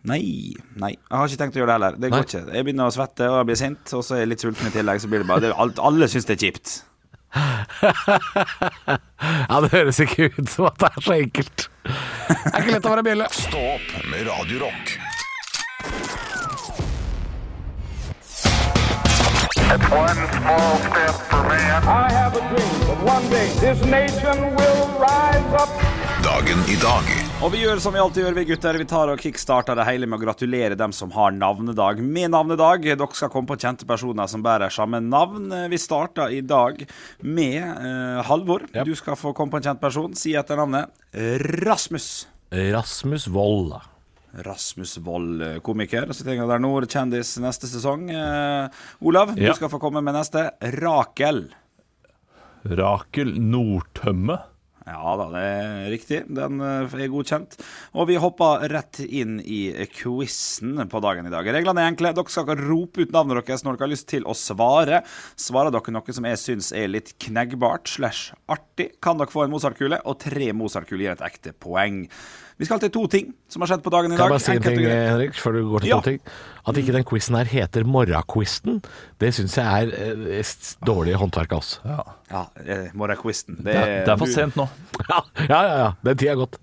Speaker 4: Nei, nei. Jeg har ikke tenkt å gjøre det heller. Det
Speaker 5: Nei.
Speaker 4: går ikke. Jeg begynner å svette og jeg blir sint, og så er jeg litt sulten i tillegg. Så blir det bare det, alt, Alle syns det er kjipt.
Speaker 5: Ja, det høres ikke ut som at det er så enkelt. Det er ikke lett å være bjelle.
Speaker 1: Stå opp med Radio Rock.
Speaker 6: One small step for man.
Speaker 7: I have a dream that one day this nation will rise up.
Speaker 1: Dagen i dag
Speaker 4: Og vi gjør som vi alltid gjør, vi gutter. Vi tar og kickstarter det hele med å gratulere dem som har navnedag med navnedag. Dere skal komme på kjente personer som bærer samme navn. Eh, Vi starter i dag med eh, Halvor.
Speaker 5: Ja.
Speaker 4: Du skal få komme på en kjent person. Si etter navnet Rasmus.
Speaker 5: Rasmus Wold. da.
Speaker 4: Rasmus Wold, eh, komiker. Så tenker jeg det er Nord, kjendis neste sesong. Eh, Olav,
Speaker 3: Ja.
Speaker 4: du skal få komme med neste. Rakel.
Speaker 3: Rakel Nordtømme.
Speaker 4: Ja da, det er riktig. Den eh, er godkjent. Og vi hopper rett inn i quizen på dagen i dag. Reglene er enkle. Dere skal ikke rope ut navnet deres når dere har lyst til å svare. Svarer dere noe som jeg syns er litt kneggbart slash artig, kan dere få en Mozart-kule, og tre Mozart-kuler gir et ekte poeng. Vi skal til to ting som har skjedd på dagen i
Speaker 5: Kan jeg
Speaker 4: dag.
Speaker 5: bare si en
Speaker 4: Enkelt og
Speaker 5: ting, eh?
Speaker 4: greit.
Speaker 5: Henrik, før du går til
Speaker 4: Ja.
Speaker 5: to ting? At ikke den quizen her heter Morraquizen, det syns jeg er eh, s- dårlig håndverk av oss. Ja.
Speaker 4: Ja, eh, morgenquizen. Det,
Speaker 3: Det er, det er for
Speaker 4: du-
Speaker 3: sent nå.
Speaker 5: ja, ja, ja. Den tida er gått.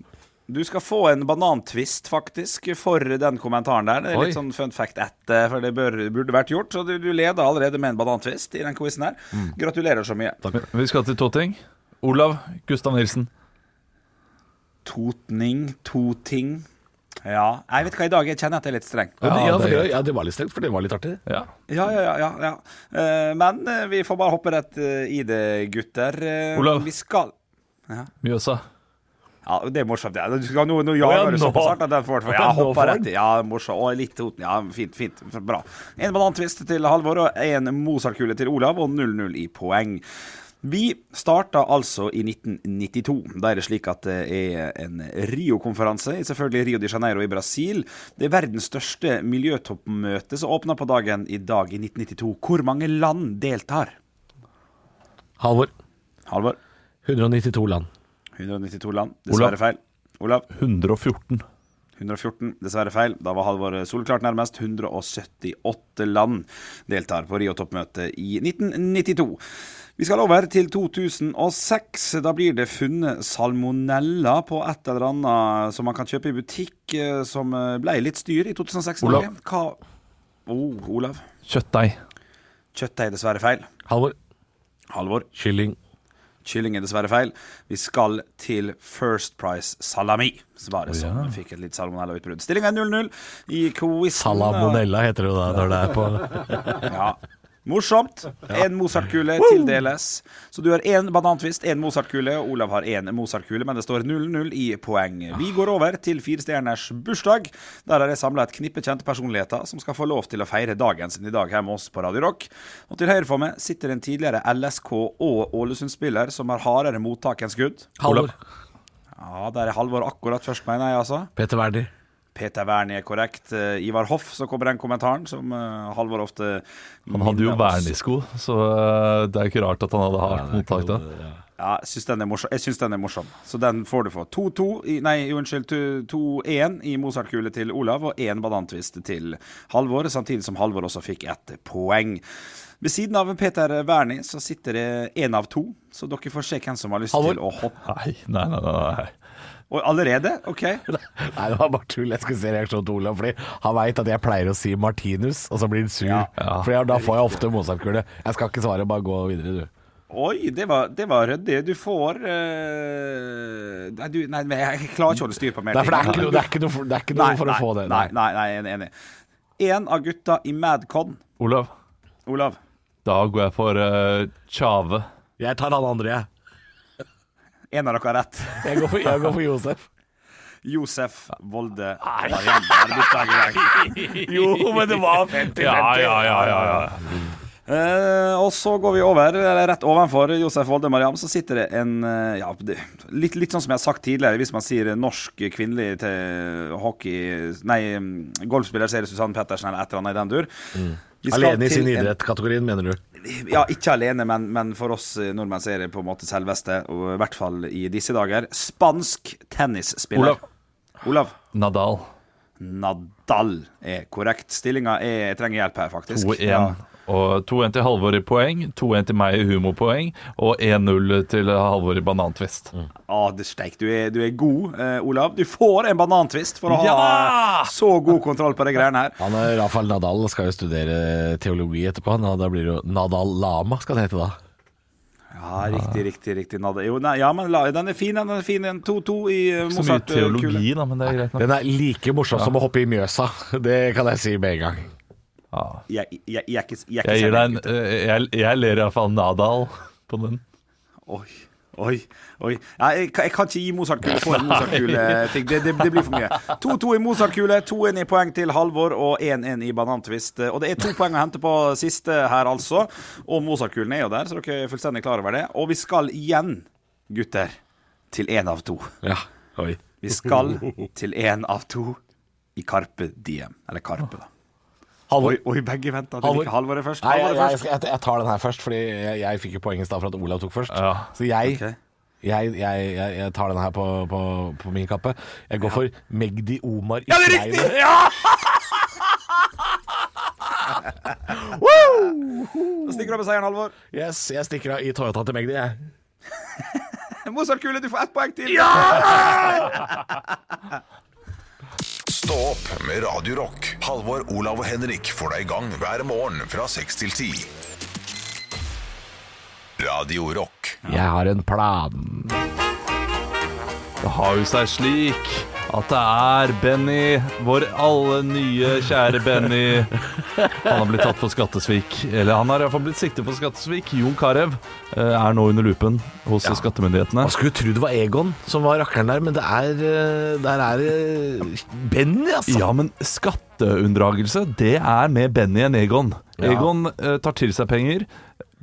Speaker 4: Du skal få en banantvist, faktisk, for den kommentaren der. Det er
Speaker 5: Oi.
Speaker 4: litt sånn fun fact etter, for det bør, burde vært gjort. Så du, du leder allerede med en banantvist i den quizen her.
Speaker 5: Mm.
Speaker 4: Gratulerer så mye.
Speaker 3: Vi skal til to ting. Olav Gustav Nilsen.
Speaker 4: Totning, toting. Ja. Jeg vet hva i dag, jeg kjenner at jeg er litt streng.
Speaker 5: Ja, det,
Speaker 3: Ja,
Speaker 5: for
Speaker 3: det-
Speaker 5: det, ja, det var litt strengt, for det var litt artig.
Speaker 3: Ja.
Speaker 4: Ja, ja, ja. ja, ja. Eh, Men eh, vi får bare hoppe rett eh, i det, gutter. Eh,
Speaker 3: Olav.
Speaker 4: Vi skal
Speaker 3: Mjøsa.
Speaker 4: Ja, det er morsomt. Ja. Du skal- Nå, nå jager
Speaker 3: ja,
Speaker 4: du
Speaker 3: nå.
Speaker 4: såpass hardt at den får
Speaker 3: Ja,
Speaker 4: Ja,
Speaker 3: nå får
Speaker 4: hopper
Speaker 3: den.
Speaker 4: rett i. Ja, morsomt. Og litt Toten. Ja, fint, fint. Bra. En banantvist til Halvor og en Mozart-kule til Olav, og 0-0 i poeng. Vi starta altså i 1992. Da er det slik at det er en Rio-konferanse, selvfølgelig Rio de Janeiro i Brasil. Det er verdens største miljøtoppmøte som åpna på dagen i dag i 1992. Hvor mange land deltar?
Speaker 5: Halvor.
Speaker 4: Halvor?
Speaker 5: 192 land.
Speaker 4: 192 land. Dessverre
Speaker 3: Olav.
Speaker 4: feil. Olav?
Speaker 3: 114.
Speaker 4: 114, dessverre feil. Da var Halvor solklart nærmest. 178 land deltar på Rio-toppmøtet i 1992. Vi skal over til 2006. Da blir det funnet salmonella på et eller annet som man kan kjøpe i butikk, eh, som eh, ble litt styr i 2006.
Speaker 3: Olav.
Speaker 4: Norge. Hva oh, Olav.
Speaker 3: Kjøttdeig.
Speaker 4: Kjøttdeig, dessverre feil.
Speaker 5: Halvor.
Speaker 4: Halvor.
Speaker 5: Kylling.
Speaker 4: Kylling er dessverre feil. Vi skal til First Price salami. Svaret som fikk et litt salmonella-utbrudd. Stillinga er 0-0 i quizen.
Speaker 5: Salamodella heter det jo da når det er på
Speaker 4: Ja. Morsomt. En Mozart-kule tildeles. Så du har én banantvist, én Mozart-kule. og Olav har én Mozart-kule, men det står 0-0 i poeng. Vi går over til firestjerners bursdag. Der har jeg samla et knippe kjente personligheter som skal få lov til å feire dagen sin i dag her med oss på Radio Rock. Og til høyre for meg sitter en tidligere LSK- og Ålesund-spiller som har hardere mottak enn skudd.
Speaker 5: Halvor.
Speaker 4: Ja, der er Halvor akkurat først, mener jeg, altså.
Speaker 5: Peter Werner.
Speaker 4: Peter Wernie er korrekt. Eh, Ivar Hoff, så kommer den kommentaren som eh, Halvor ofte
Speaker 3: Han hadde jo
Speaker 4: minner oss-
Speaker 3: vernesko, så eh, det er ikke rart at han hadde hardt mottak da.
Speaker 4: Ja, jeg syns den er morsom. Jeg synes den er morsom. Så den får du for. 2-2 i- Nei, unnskyld. 2-1 i Mozart-kule til Olav og én banantvist til Halvor, samtidig som Halvor også fikk ett poeng. Ved siden av Peter Wernie så sitter det én av to, så dere får se hvem som har lyst
Speaker 5: Halvor.
Speaker 4: til å hoppe.
Speaker 3: Nei, nei, nei. nei, nei.
Speaker 4: Og allerede? OK.
Speaker 5: Nei, det var bare tull. Jeg skulle se reaksjonen til Olav. Fordi han veit at jeg pleier å si Martinus, og så blir han sur.
Speaker 4: Ja.
Speaker 5: For jeg, da får jeg ofte Mozart-kule. Jeg skal ikke svare, bare gå videre, du.
Speaker 4: Oi, det var, det var ryddig. Du får eh, Nei, du, nei, men jeg klarer ikke å holde styr på mer.
Speaker 5: Nei, for det er
Speaker 4: ting.
Speaker 5: ikke noe, det er ikke noe, for, det er ikke noe for å få det.
Speaker 4: Nei, nei, nei, jeg er enig. En av gutta i Madcon,
Speaker 3: Olav,
Speaker 4: Olav.
Speaker 3: da går jeg for eh, Tjave.
Speaker 5: Jeg tar han andre, jeg.
Speaker 4: En av dere har rett.
Speaker 5: Jeg går for, jeg går for Josef.
Speaker 4: Josef Volde Mariam. Er det bursdag i dag?
Speaker 5: Jo, men det var 50-50.
Speaker 3: Ja, ja, ja, ja, ja.
Speaker 4: Eh, og så går vi over, eller rett ovenfor Josef Volde Mariam, så sitter det en eh, ja, det- litt, litt sånn som jeg har sagt tidligere, hvis man sier norsk kvinnelig til hockey Nei, mm, golfspiller, så er det Susanne Pettersen eller et eller annet i den dur. Vi skal
Speaker 5: Mm. Alene i
Speaker 4: til
Speaker 5: sin
Speaker 4: en-
Speaker 5: idrett-kategorien, mener du?
Speaker 4: Ja, ikke alene, men, men for oss eh, nordmenn så er det på en måte selveste, og i hvert fall i disse dager. Spansk tennisspiller.
Speaker 3: Olav.
Speaker 4: Olav
Speaker 3: Nadal.
Speaker 4: Nadal er korrekt. Stillinga er Jeg trenger hjelp her, faktisk.
Speaker 3: 2-1.
Speaker 4: Ja.
Speaker 3: Og 2-1 til Halvor i poeng, 2-1 til meg i humorpoeng, og 1-0 til Halvor i banantvist.
Speaker 4: Ah, det steik, du er, du er god, eh, Olav. Du får en banantvist for å ha
Speaker 3: Ja!
Speaker 4: så god kontroll på de greiene her.
Speaker 5: Han er Rafael Nadal skal jo studere teologi etterpå. han, og Da blir det jo Nadal Lama, skal det hete da.
Speaker 4: Ja, riktig, riktig, riktig. Nadal. Jo, nei, ja, men la, den er fin, den er fin. En 2-2 i eh,
Speaker 3: Så mye
Speaker 4: Mozart. eh, kule.
Speaker 3: teologi, da, men det er greit nok.
Speaker 5: Den er like morsom som å hoppe i Mjøsa. Det kan jeg si med en gang.
Speaker 4: Jeg, jeg, jeg, er ikke- jeg, er
Speaker 3: Jeg
Speaker 4: ikke
Speaker 3: gir
Speaker 4: seriøs,
Speaker 3: deg en eh, Jeg, jeg ler iallfall Nadal på den.
Speaker 4: Oi, oi, oi. Nei, jeg, kan- jeg kan ikke gi Mozart-kule på en Mozart-kule-ting. Det, det, det blir for mye. 2-2 i Mozart-kule, 2-1 i poeng til Halvor og 1-1 i Banantvist. Og det er to poeng å hente på siste her, altså. Og Mozart-kulen er jo der, så dere er fullstendig klar over det. Og vi skal igjen, gutter, til én av to.
Speaker 5: Ja, oi.
Speaker 4: Vi skal til én av to i Karpe Diem. Eller Karpe, da. Oi,
Speaker 5: Halvor.
Speaker 4: oi begge venter. Det
Speaker 5: Halvor.
Speaker 4: liker Halvor er først.
Speaker 5: Nei, jeg,
Speaker 4: Halvor er
Speaker 5: jeg,
Speaker 4: først.
Speaker 5: jeg, jeg tar den her først, fordi jeg, jeg fikk jo poeng i stad for at Olav tok først.
Speaker 3: Ja.
Speaker 5: Så jeg,
Speaker 4: Ok.
Speaker 5: jeg, jeg, jeg, jeg tar den her på, på, på min kappe. Jeg går for Magdi Omar i
Speaker 4: Ja, det er riktig!
Speaker 5: Kleine.
Speaker 4: Ja! Da stikker du av med seieren, Halvor.
Speaker 5: Yes, jeg stikker av i Toyota til Magdi, jeg.
Speaker 4: Mozart-kule, du får ett poeng til.
Speaker 1: Stå opp med Radio Rock. Halvor, Olav og Henrik får deg i gang hver morgen fra 6 til 10. Radio Rock.
Speaker 5: Jeg har en plan.
Speaker 3: Det har jo seg slik at det er Benny, vår alle nye kjære Benny. Han har blitt tatt for skattesvik. Eller han har iallfall blitt siktet for skattesvik. Jon Carew eh, er nå under lupen hos skattemyndighetene.
Speaker 5: Man skulle jo tro det var Egon som var rakkeren der, men det er, eh, der er eh, Benny, altså.
Speaker 3: Ja, men skatteunndragelse, det er med Benny enn Egon. Egon eh, tar til seg penger.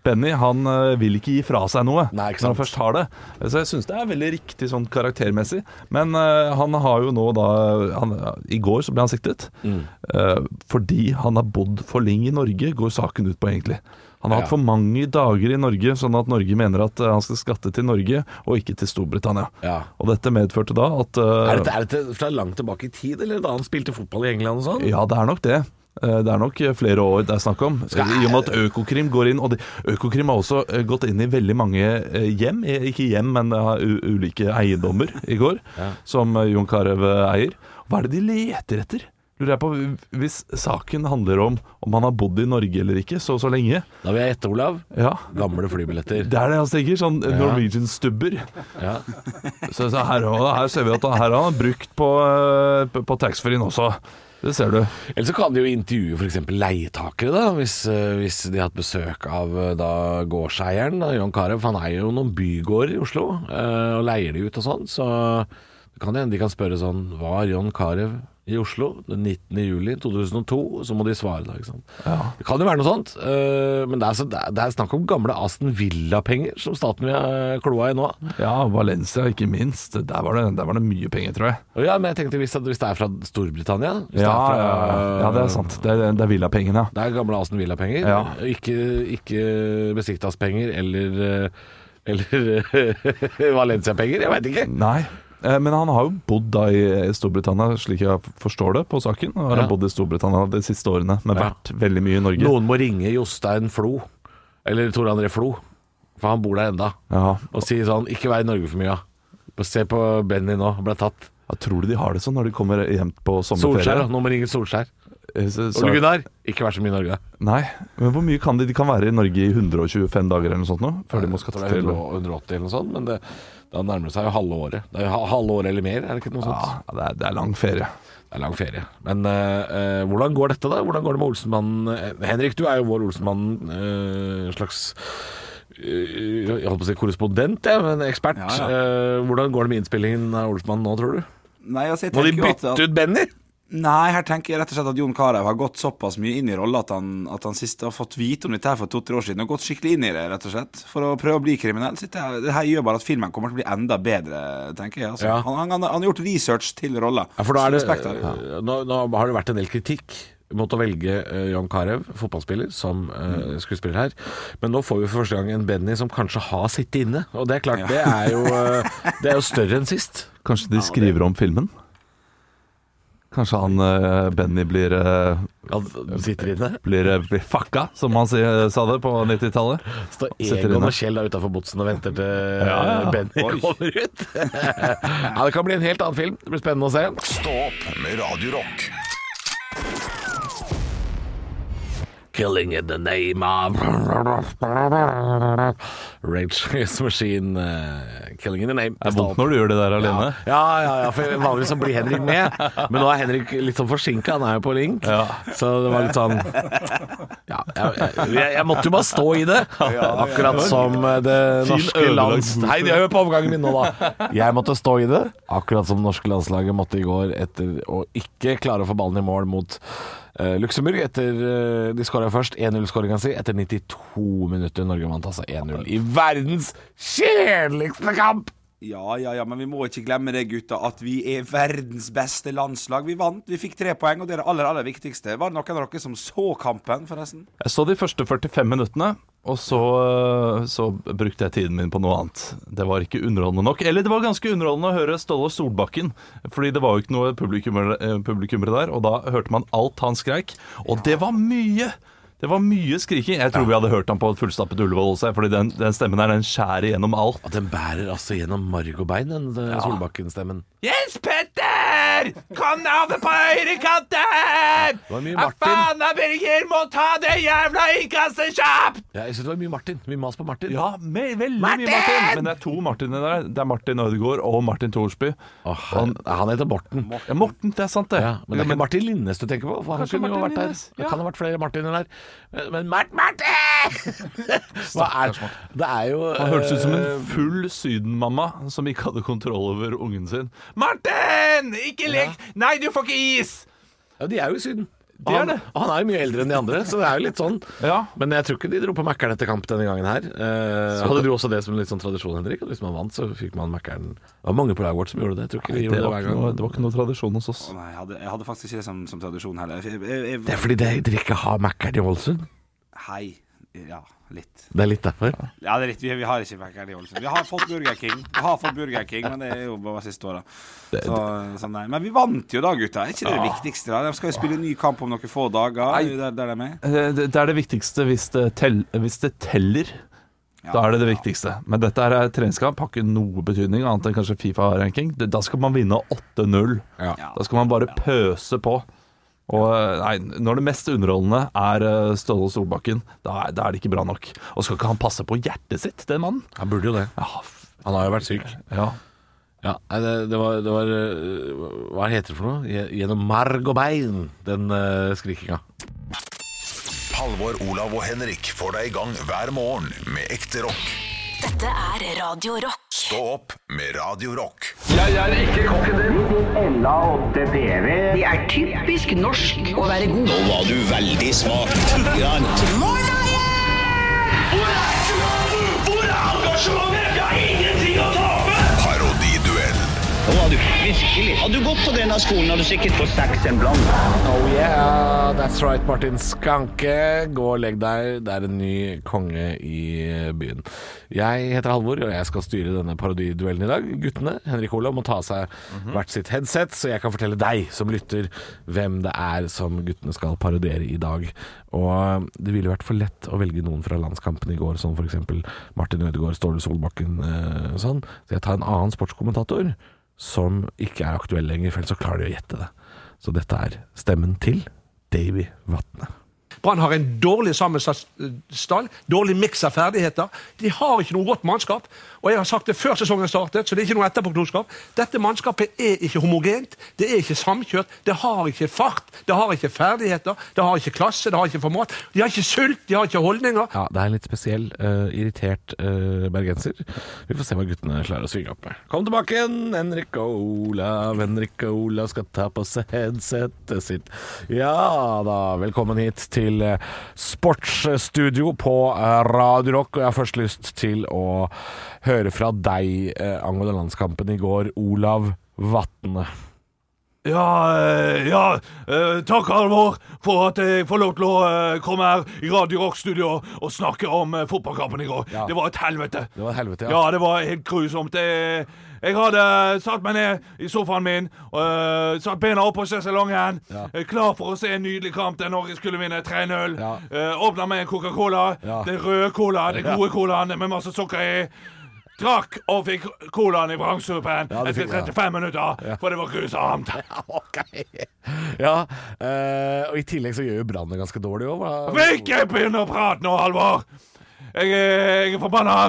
Speaker 3: Benny han eh, vil ikke gi fra seg noe
Speaker 5: Nei, ikke
Speaker 3: når
Speaker 5: sant.
Speaker 3: han først har det. Eh, Så jeg syns det er veldig riktig sånn karaktermessig. Men eh, han har jo nå da han, I går så ble han siktet.
Speaker 5: Mm.
Speaker 3: eh, fordi han har bodd for lenge i Norge, går saken ut på egentlig. Han har hatt for mange dager i Norge, sånn at Norge mener at eh, han skal skatte til Norge og ikke til Storbritannia.
Speaker 5: Ja.
Speaker 3: Og dette medførte da at eh,
Speaker 8: Er dette, er dette fra langt tilbake i tid, eller da han spilte fotball i England og sånn?
Speaker 3: Ja, det er nok det. Eh, Det er nok flere år det er snakk om. I og med at Økokrim går inn. Og de, Økokrim har også eh, gått inn i veldig mange eh, hjem, eh, ikke hjem, men eh, u ulike eiendommer i går, som eh, Jon Carew eh, eier. Hva er det de leter etter? Lurer jeg på, Hvis saken handler om om han har bodd i Norge eller ikke så og så lenge
Speaker 5: Da vil jeg gjette, Olav.
Speaker 3: Ja,
Speaker 5: Gamle flybilletter.
Speaker 3: det er det han tenker. Sånn Norwegian-stubber.
Speaker 5: Ja.
Speaker 3: Så, så her, og her ser vi at han- her har han brukt på, eh, på- på taxfree-en også. Det ser du.
Speaker 5: Eller så kan de jo intervjue f.eks. leietakere, da, hvis, eh, hvis de har hatt besøk av eh, da gårdseieren, da, John Carew. for Han eier jo noen bygårder i Oslo, eh, og leier de ut og sånn. Så det kan hende de kan spørre sånn Var John Carew i Oslo den 19. juli 2002? Så må de svare da, ikke sant. Det kan jo være noe sånt. eh, men det er, så, det er- det er snakk om gamle Aston Villa-penger som staten vil ha kloa i nå.
Speaker 3: Ja, Valencia ikke minst. Der var det, der var det mye penger, tror jeg.
Speaker 5: Og ja, men jeg tenkte hvis det, hvis det er fra Storbritannia hvis det er
Speaker 3: Ja,
Speaker 5: fra,
Speaker 3: ja, det er sant. Det er, det er villapengene, ja.
Speaker 5: Det er gamle Aston Villa-penger.
Speaker 3: Ja.
Speaker 5: Ikke, ikke Besiktas-penger eller eh, eller eh, Valencia-penger, jeg veit ikke.
Speaker 3: Nei. eh, Men han har jo bodd da i Storbritannia, slik jeg forstår det på saken. Og har
Speaker 5: Ja.
Speaker 3: bodd i Storbritannia de siste årene, men
Speaker 5: Ja.
Speaker 3: vært veldig mye i Norge.
Speaker 5: Noen må ringe Jostein Flo, eller Tor André Flo, for han bor der enda,
Speaker 3: Ja.
Speaker 5: og si sånn 'ikke vær i Norge for mye', ja. Se på Benny nå, ble tatt.
Speaker 3: Ja, tror du de har det sånn når de kommer hjem på
Speaker 5: Solskjær,
Speaker 3: sommerferie?
Speaker 5: ja. nå må ringe Solskjær.
Speaker 3: Eh, så- så-
Speaker 5: Ole Gunnar, ikke vær så mye i Norge.
Speaker 3: Nei, men hvor mye kan de? De kan være i Norge i 125 dager eller noe sånt nå? Før de må
Speaker 5: Jeg
Speaker 3: skatte
Speaker 5: tror det er
Speaker 3: til
Speaker 5: 180 eller noe sånt, men det, da nærmer det seg jo halve året. Det er jo ha- halve året eller mer, er det ikke noe sånt?
Speaker 3: Ja, det er, det er lang ferie.
Speaker 5: Det er lang ferie. Men eh, eh, hvordan går dette, da? Hvordan går det med Olsenmannen? Eh, Henrik, du er jo vår Olsenmann, eh, en slags eh, jeg holdt på å si korrespondent, ja, men ekspert.
Speaker 4: Ja, ja.
Speaker 5: Eh, hvordan går det med innspillingen av Olsenmannen nå, tror du?
Speaker 4: Nei, altså, jeg
Speaker 5: Må de
Speaker 4: tenker jo at,
Speaker 5: bytte
Speaker 4: at,
Speaker 5: ut Benny?
Speaker 4: nei, her tenker jeg rett og slett at Jon Carew har gått såpass mye inn i rolla at han, at han sist har fått vite om dette her for to-tre år siden og gått skikkelig inn i det, rett og slett. For å prøve å bli kriminell. Så dette her- det her gjør bare at filmen kommer til å bli enda bedre, tenker jeg. Altså.
Speaker 5: Ja.
Speaker 4: Han, han, han har gjort research til rolla.
Speaker 5: Ja, for da er det,
Speaker 4: Respekt der.
Speaker 5: eh, nå, nå har det vært en del kritikk mot å velge eh, Jan Carew, fotballspiller, som
Speaker 4: Mm.
Speaker 5: eh, skuespiller her. Men nå får vi for første gang en Benny som kanskje har sittet inne. Og det er klart, det, er jo, eh, det er jo større enn sist.
Speaker 3: Kanskje de skriver om filmen? Kanskje han eh, Benny blir eh,
Speaker 5: Han sitter inne.
Speaker 3: blir, blir fucka, som han si- sa det på 90-tallet.
Speaker 5: Står
Speaker 3: Sitter
Speaker 5: Egon
Speaker 3: inne.
Speaker 5: og Kjell da utafor botsen og venter til
Speaker 3: Ja, ja.
Speaker 5: Benny kommer ut. ja, det kan bli en helt annen film. Det blir spennende å se.
Speaker 1: Stå opp med Radio Rock.
Speaker 5: 'Killing in the name of Rage Against the Machine'. eh, 'Killing in the name'.
Speaker 3: Det er vondt når du gjør det der alene.
Speaker 5: Ja, ja, ja, for vanligvis så blir Henrik med, men nå er Henrik litt sånn forsinka. Han er jo på link, så det var litt sånn Ja, jeg, jeg, jeg måtte jo bare stå i det. Akkurat som eh, det norske
Speaker 3: ødelagt
Speaker 5: lands... Nei, hør på overgangen min nå, da. Jeg måtte stå i det. Akkurat som det norske landslaget måtte i går etter å ikke klare å få ballen i mål mot eh, Luxembourg etter eh, De skåra først 1-0-skåringa si etter 92 minutter. Norge vant altså 1-0 i verdens kjedeligste kamp!
Speaker 4: Ja, ja, ja, men vi må ikke glemme det, gutta, at vi er verdens beste landslag. Vi vant, vi fikk tre poeng, og det er det aller, aller viktigste. Var det noen av dere som så kampen, forresten?
Speaker 3: Jeg så de første 45 minuttene, og så, så brukte jeg tiden min på noe annet. Det var ikke underholdende nok. Eller det var ganske underholdende å høre Ståle Solbakken, fordi det var jo ikke noe publikummer- eh, publikummere der, og da hørte man alt han skreik, og det var mye! Det var mye skriking. Jeg tror vi hadde hørt han på et fullstappet Ullevål også, fordi den, den stemmen der, den skjærer gjennom alt.
Speaker 5: Og den bærer altså gjennom marg og bein, den eh, Solbakken-stemmen.
Speaker 3: Jens Petter! Birger! Kom over på høyrekanten!
Speaker 5: var mye
Speaker 3: Hva
Speaker 5: Martin.
Speaker 3: faen av Birger må ta det jævla innkastet kjapt!
Speaker 5: Ja, jeg synes det var mye Martin. Mye mas på Martin.
Speaker 3: Ja, me- veldig mye Martin! Men det er to Martiner der. Det er Martin Ødegaard og Martin Thorsby.
Speaker 5: Åh, han, han heter Morten.
Speaker 3: Ja, Morten, det er sant det.
Speaker 5: Ja, men det er ikke Martin Linnes du tenker på? For han
Speaker 3: Kanskje
Speaker 5: kunne jo
Speaker 3: Martin
Speaker 5: vært der.
Speaker 3: Linnes,
Speaker 5: Det
Speaker 3: ja.
Speaker 5: kan ha vært flere Martiner der. Men- Men Mart Martin! Hva er Det er jo eh,
Speaker 3: Han hørtes ut som en eh, full sydenmamma som ikke hadde kontroll over ungen sin. Martin! Ikke lek! Nei, du får ikke is!
Speaker 5: Ja, de er jo i Syden. Og
Speaker 3: De er
Speaker 5: han,
Speaker 3: det.
Speaker 5: og han er jo mye eldre enn de andre, så det er jo litt sånn.
Speaker 3: Ja.
Speaker 5: Men jeg tror ikke de dro på Mækkern etter kamp denne gangen her. Eh, hadde du også det som litt sånn tradisjon, Henrik? At hvis man vant, så fikk man Mækkern Det var mange på laget vårt som gjorde det. Jeg tror ikke vi gjorde
Speaker 3: Det
Speaker 5: det
Speaker 3: var
Speaker 5: hver
Speaker 3: ikke
Speaker 5: gang.
Speaker 3: noe, det var ikke noe tradisjon hos oss.
Speaker 9: Å Nei, jeg hadde, jeg hadde faktisk ikke det som, som tradisjon heller. Jeg, jeg, jeg,
Speaker 5: Det er fordi de- dere ikke har Mækkern i Ålesund.
Speaker 9: Hei. Ja, litt.
Speaker 5: Det er litt derfor.
Speaker 9: Ja, det er riktig. Vi, vi har ikke Mækkern i Ålesund. Vi har fått Burger King, Vi har fått Burger King men det er jo bare siste året. Så, så nei. Men vi vant jo da, gutta. Er ikke det det viktigste? da? De skal jo spille ny kamp om noen få dager.
Speaker 3: Nei.
Speaker 9: Der, der de er med.
Speaker 3: Eh, Det det er det viktigste hvis det, tell, hvis det teller. Da er det det viktigste. Men dette her er treningskamp, har ikke noe betydning annet enn kanskje Fifa-ranking. Det- Da skal man vinne 8-0.
Speaker 9: Ja.
Speaker 3: Da skal man bare pøse på. Og eh, nei, når det mest underholdende er eh, Ståle Solbakken, da er, da er det ikke bra nok. Og skal ikke han passe på hjertet sitt, den mannen?
Speaker 5: Han burde jo det.
Speaker 3: Ja, f-
Speaker 5: Han har jo vært syk.
Speaker 3: ja.
Speaker 5: Ja, nei, det, det, var, det var eh, Hva heter det for noe? Gje- Gjennom marg og bein, den eh, skrikinga.
Speaker 1: Halvor, Olav og Henrik får deg i gang hver morgen med ekte rock.
Speaker 2: Dette er Radio Rock.
Speaker 1: Stå opp med Radio Rock. Parodiduell.
Speaker 5: Oh yeah, that's right, Martin Skanke. Gå og legg deg. Det er en ny konge i eh, byen. Jeg heter Halvor, og jeg skal styre denne parodiduellen i dag. Guttene, Henrik Olav, må ta av seg hvert sitt headset, så jeg kan fortelle deg som lytter hvem det er som guttene skal parodiere i dag. Og eh, det ville vært for lett å velge noen fra landskampen i går, som f.eks. Martin Ødegaard, Ståle Solbakken eh, og sånn. Så jeg tar en annen sportskommentator som ikke er aktuell lenger, for ellers så klarer de å gjette det. Så dette er stemmen til Davy Vatne.
Speaker 10: Brann har en dårlig sammensatt eh, stall, dårlig miks av ferdigheter. De har ikke noe godt mannskap. Og jeg har sagt det før sesongen startet, så det er ikke noe etterpåklokskap. Dette mannskapet er ikke homogent, det er ikke samkjørt, det har ikke fart, det har ikke ferdigheter, det har ikke klasse, det har ikke format. De har ikke sult, de har ikke holdninger.
Speaker 5: Ja, det er en litt spesiell, eh, irritert eh, bergenser. Vi får se hva guttene klarer å svinge opp med. Kom tilbake igjen, Henrik og Olav. Henrik og Olav skal ta på seg headsetet sitt. Ja da, velkommen hit til eh, sportsstudio på eh, Radio Rock. Og jeg har først lyst til å høre fra deg eh, angående landskampen i går, Olav Vatne.
Speaker 3: Ja, eh, ja eh, Takk, Halvor, for at jeg får lov til å eh, komme her i Radio Rock-studio og snakke om eh, fotballkampen i går.
Speaker 5: Ja.
Speaker 3: Det var et helvete.
Speaker 5: Det var helvete,
Speaker 3: Ja, det var helt grusomt. Jeg, jeg hadde satt meg ned i sofaen min, eh, satt bena opp på sesongen,
Speaker 5: Ja.
Speaker 3: eh, klar for å se en nydelig kamp der Norge skulle vinne 3-0.
Speaker 5: Ja.
Speaker 3: Eh, Åpna med en Coca-Cola.
Speaker 5: Ja.
Speaker 3: Den røde cola, den
Speaker 5: Ja.
Speaker 3: gode colaen med masse sukker i. Drakk og fikk colaen i vrangsuppen
Speaker 5: Ja, det
Speaker 3: etter
Speaker 5: fikk- ja.
Speaker 3: 35 minutter, for det var grusomt.
Speaker 5: Ok. Ja, eh, og i tillegg så gjør jo Brann det ganske dårlig òg.
Speaker 3: Ikke begynn å prate nå, Halvor! Jeg er, jeg er forbanna.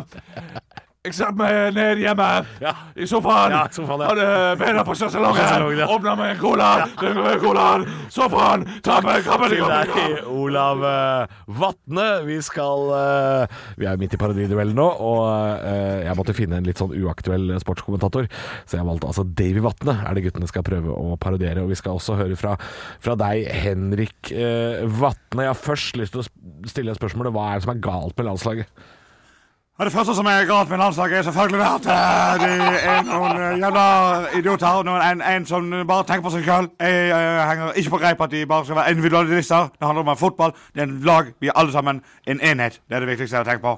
Speaker 3: Jeg satte meg ned hjemme i sofaen.
Speaker 5: Ja, sofaen, ja.
Speaker 3: Hadde beina på
Speaker 5: Sjaselongen,
Speaker 3: sjaselongen.
Speaker 5: ja.
Speaker 3: Åpna med en cola. Den røde colaen. Sofaen. Tapper kampen i
Speaker 5: Til
Speaker 3: går.
Speaker 5: deg, Olav eh, Vatne. Vi skal eh, Vi er midt i parodiduellen nå, og eh, jeg måtte finne en litt sånn uaktuell sportskommentator, så jeg valgte altså Davy Vatne, er det guttene skal prøve å parodiere. Og vi skal også høre fra, fra deg, Henrik eh, Vatne. Jeg har først lyst til å sp- stille spørsmålet hva er det som er galt med landslaget?
Speaker 4: Ja, det første som er galt med landslaget, er selvfølgelig det at eh, de er noen eh, jævla idioter. og Noen, en, en som bare tenker på seg sjøl. Jeg eh, henger ikke på greip at de bare skal være individualister. Det handler om en fotball. Det er en lag. Vi er alle sammen en enhet. Det er det viktigste jeg har tenkt på.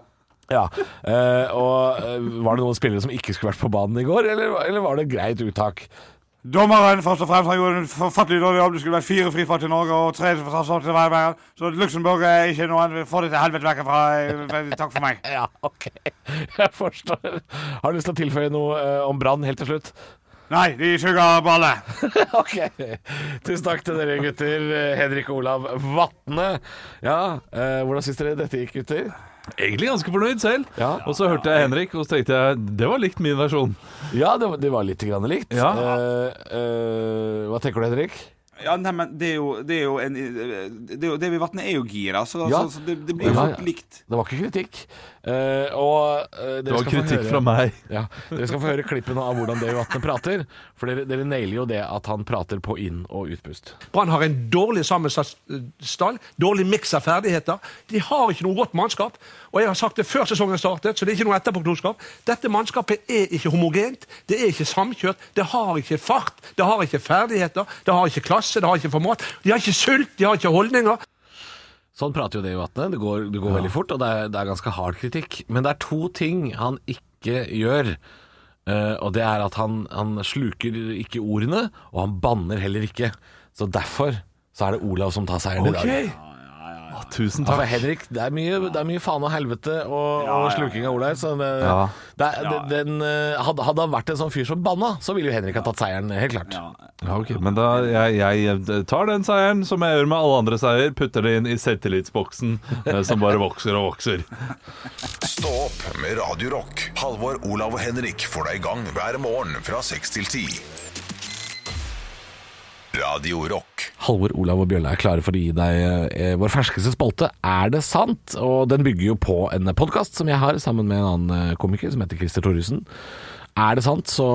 Speaker 5: Ja, eh, og eh, Var det noen spillere som ikke skulle vært på banen i går, eller, eller var det greit uttak?
Speaker 4: Dommeren først og fremst har gjort en forfattelig dårlig jobb. Det skulle vært fire frispark til Norge og tre forsvarsfart til hver hver. Så Luxembourg er ikke noen. Få det til helvete vekk herfra. Eh, Takk for meg.
Speaker 5: Ja, ok. Jeg forstår. Har du lyst til å tilføye noe eh, om Brann helt til slutt?
Speaker 11: Nei, de suger balle.
Speaker 5: ok. Tusen takk til dere gutter. Eh, Henrik og Olav Vatne. Ja, eh, hvordan syns dere dette gikk, gutter?
Speaker 3: Egentlig ganske fornøyd selv. Og så hørte jeg Henrik, og så tenkte jeg det var likt min versjon.
Speaker 5: Ja, det, var- det var litt grann likt.
Speaker 3: Ja.
Speaker 5: Eh, eh, hva tenker du, Henrik?
Speaker 4: Ja, nei, men det er jo, det er jo en eh, Det, er jo, det vi vatner, er jo gira, så,
Speaker 5: Ja.
Speaker 4: så, så det, det blir jo
Speaker 5: Ja,
Speaker 4: fort
Speaker 5: ja.
Speaker 4: likt.
Speaker 5: Det var ikke kritikk. Eh, og eh, dere
Speaker 3: Det var
Speaker 5: skal få
Speaker 3: kritikk
Speaker 5: høre-
Speaker 3: fra meg.
Speaker 5: Ja, Dere skal få høre klippene av hvordan Davy Vatne prater. For dere, dere nailer jo det at han prater på inn- og utpust.
Speaker 10: Brann har en dårlig sammensatt eh, stall, dårlig miks av ferdigheter. De har ikke noe godt mannskap. Og jeg har sagt det før sesongen startet, så det er ikke noe etterpåklokskap. Dette mannskapet er ikke homogent, det er ikke samkjørt, det har ikke fart, det har ikke ferdigheter, det har ikke klasse, det har ikke format. De har ikke sult, de har ikke holdninger.
Speaker 5: Sånn prater jo Davy Vatne. Det går, det går veldig fort, og det er, det er ganske hard kritikk. Men det er to ting han ikke gjør. eh, og det er at han, han sluker ikke ordene, og han banner heller ikke. Så derfor så er det Olav som tar seieren i dag.
Speaker 3: Ah, tusen
Speaker 5: Ja, for
Speaker 3: takk.
Speaker 5: Henrik, det er mye, det er mye faen og helvete og, og sluking av Olaug. Så det,
Speaker 3: Ja.
Speaker 5: det, er- det, den, eh, hadde, hadde han vært en sånn fyr som banna, så ville jo Henrik ha tatt seieren, helt klart.
Speaker 3: Ja, ok, Men da, jeg, jeg tar den seieren som jeg gjør med alle andre seier, putter det inn i selvtillitsboksen eh, som bare vokser og vokser.
Speaker 1: Stå opp med Radio Rock. Halvor, Olav og Henrik får deg i gang hver morgen fra 6 til 10. Radio Rock.
Speaker 5: Halvor, Olav og Bjølle er klare for å gi deg eh, vår ferskeste spalte, Er det sant? Og den bygger jo på en podkast som jeg har sammen med en annen eh, komiker som heter Christer Thoresen. Er det sant, så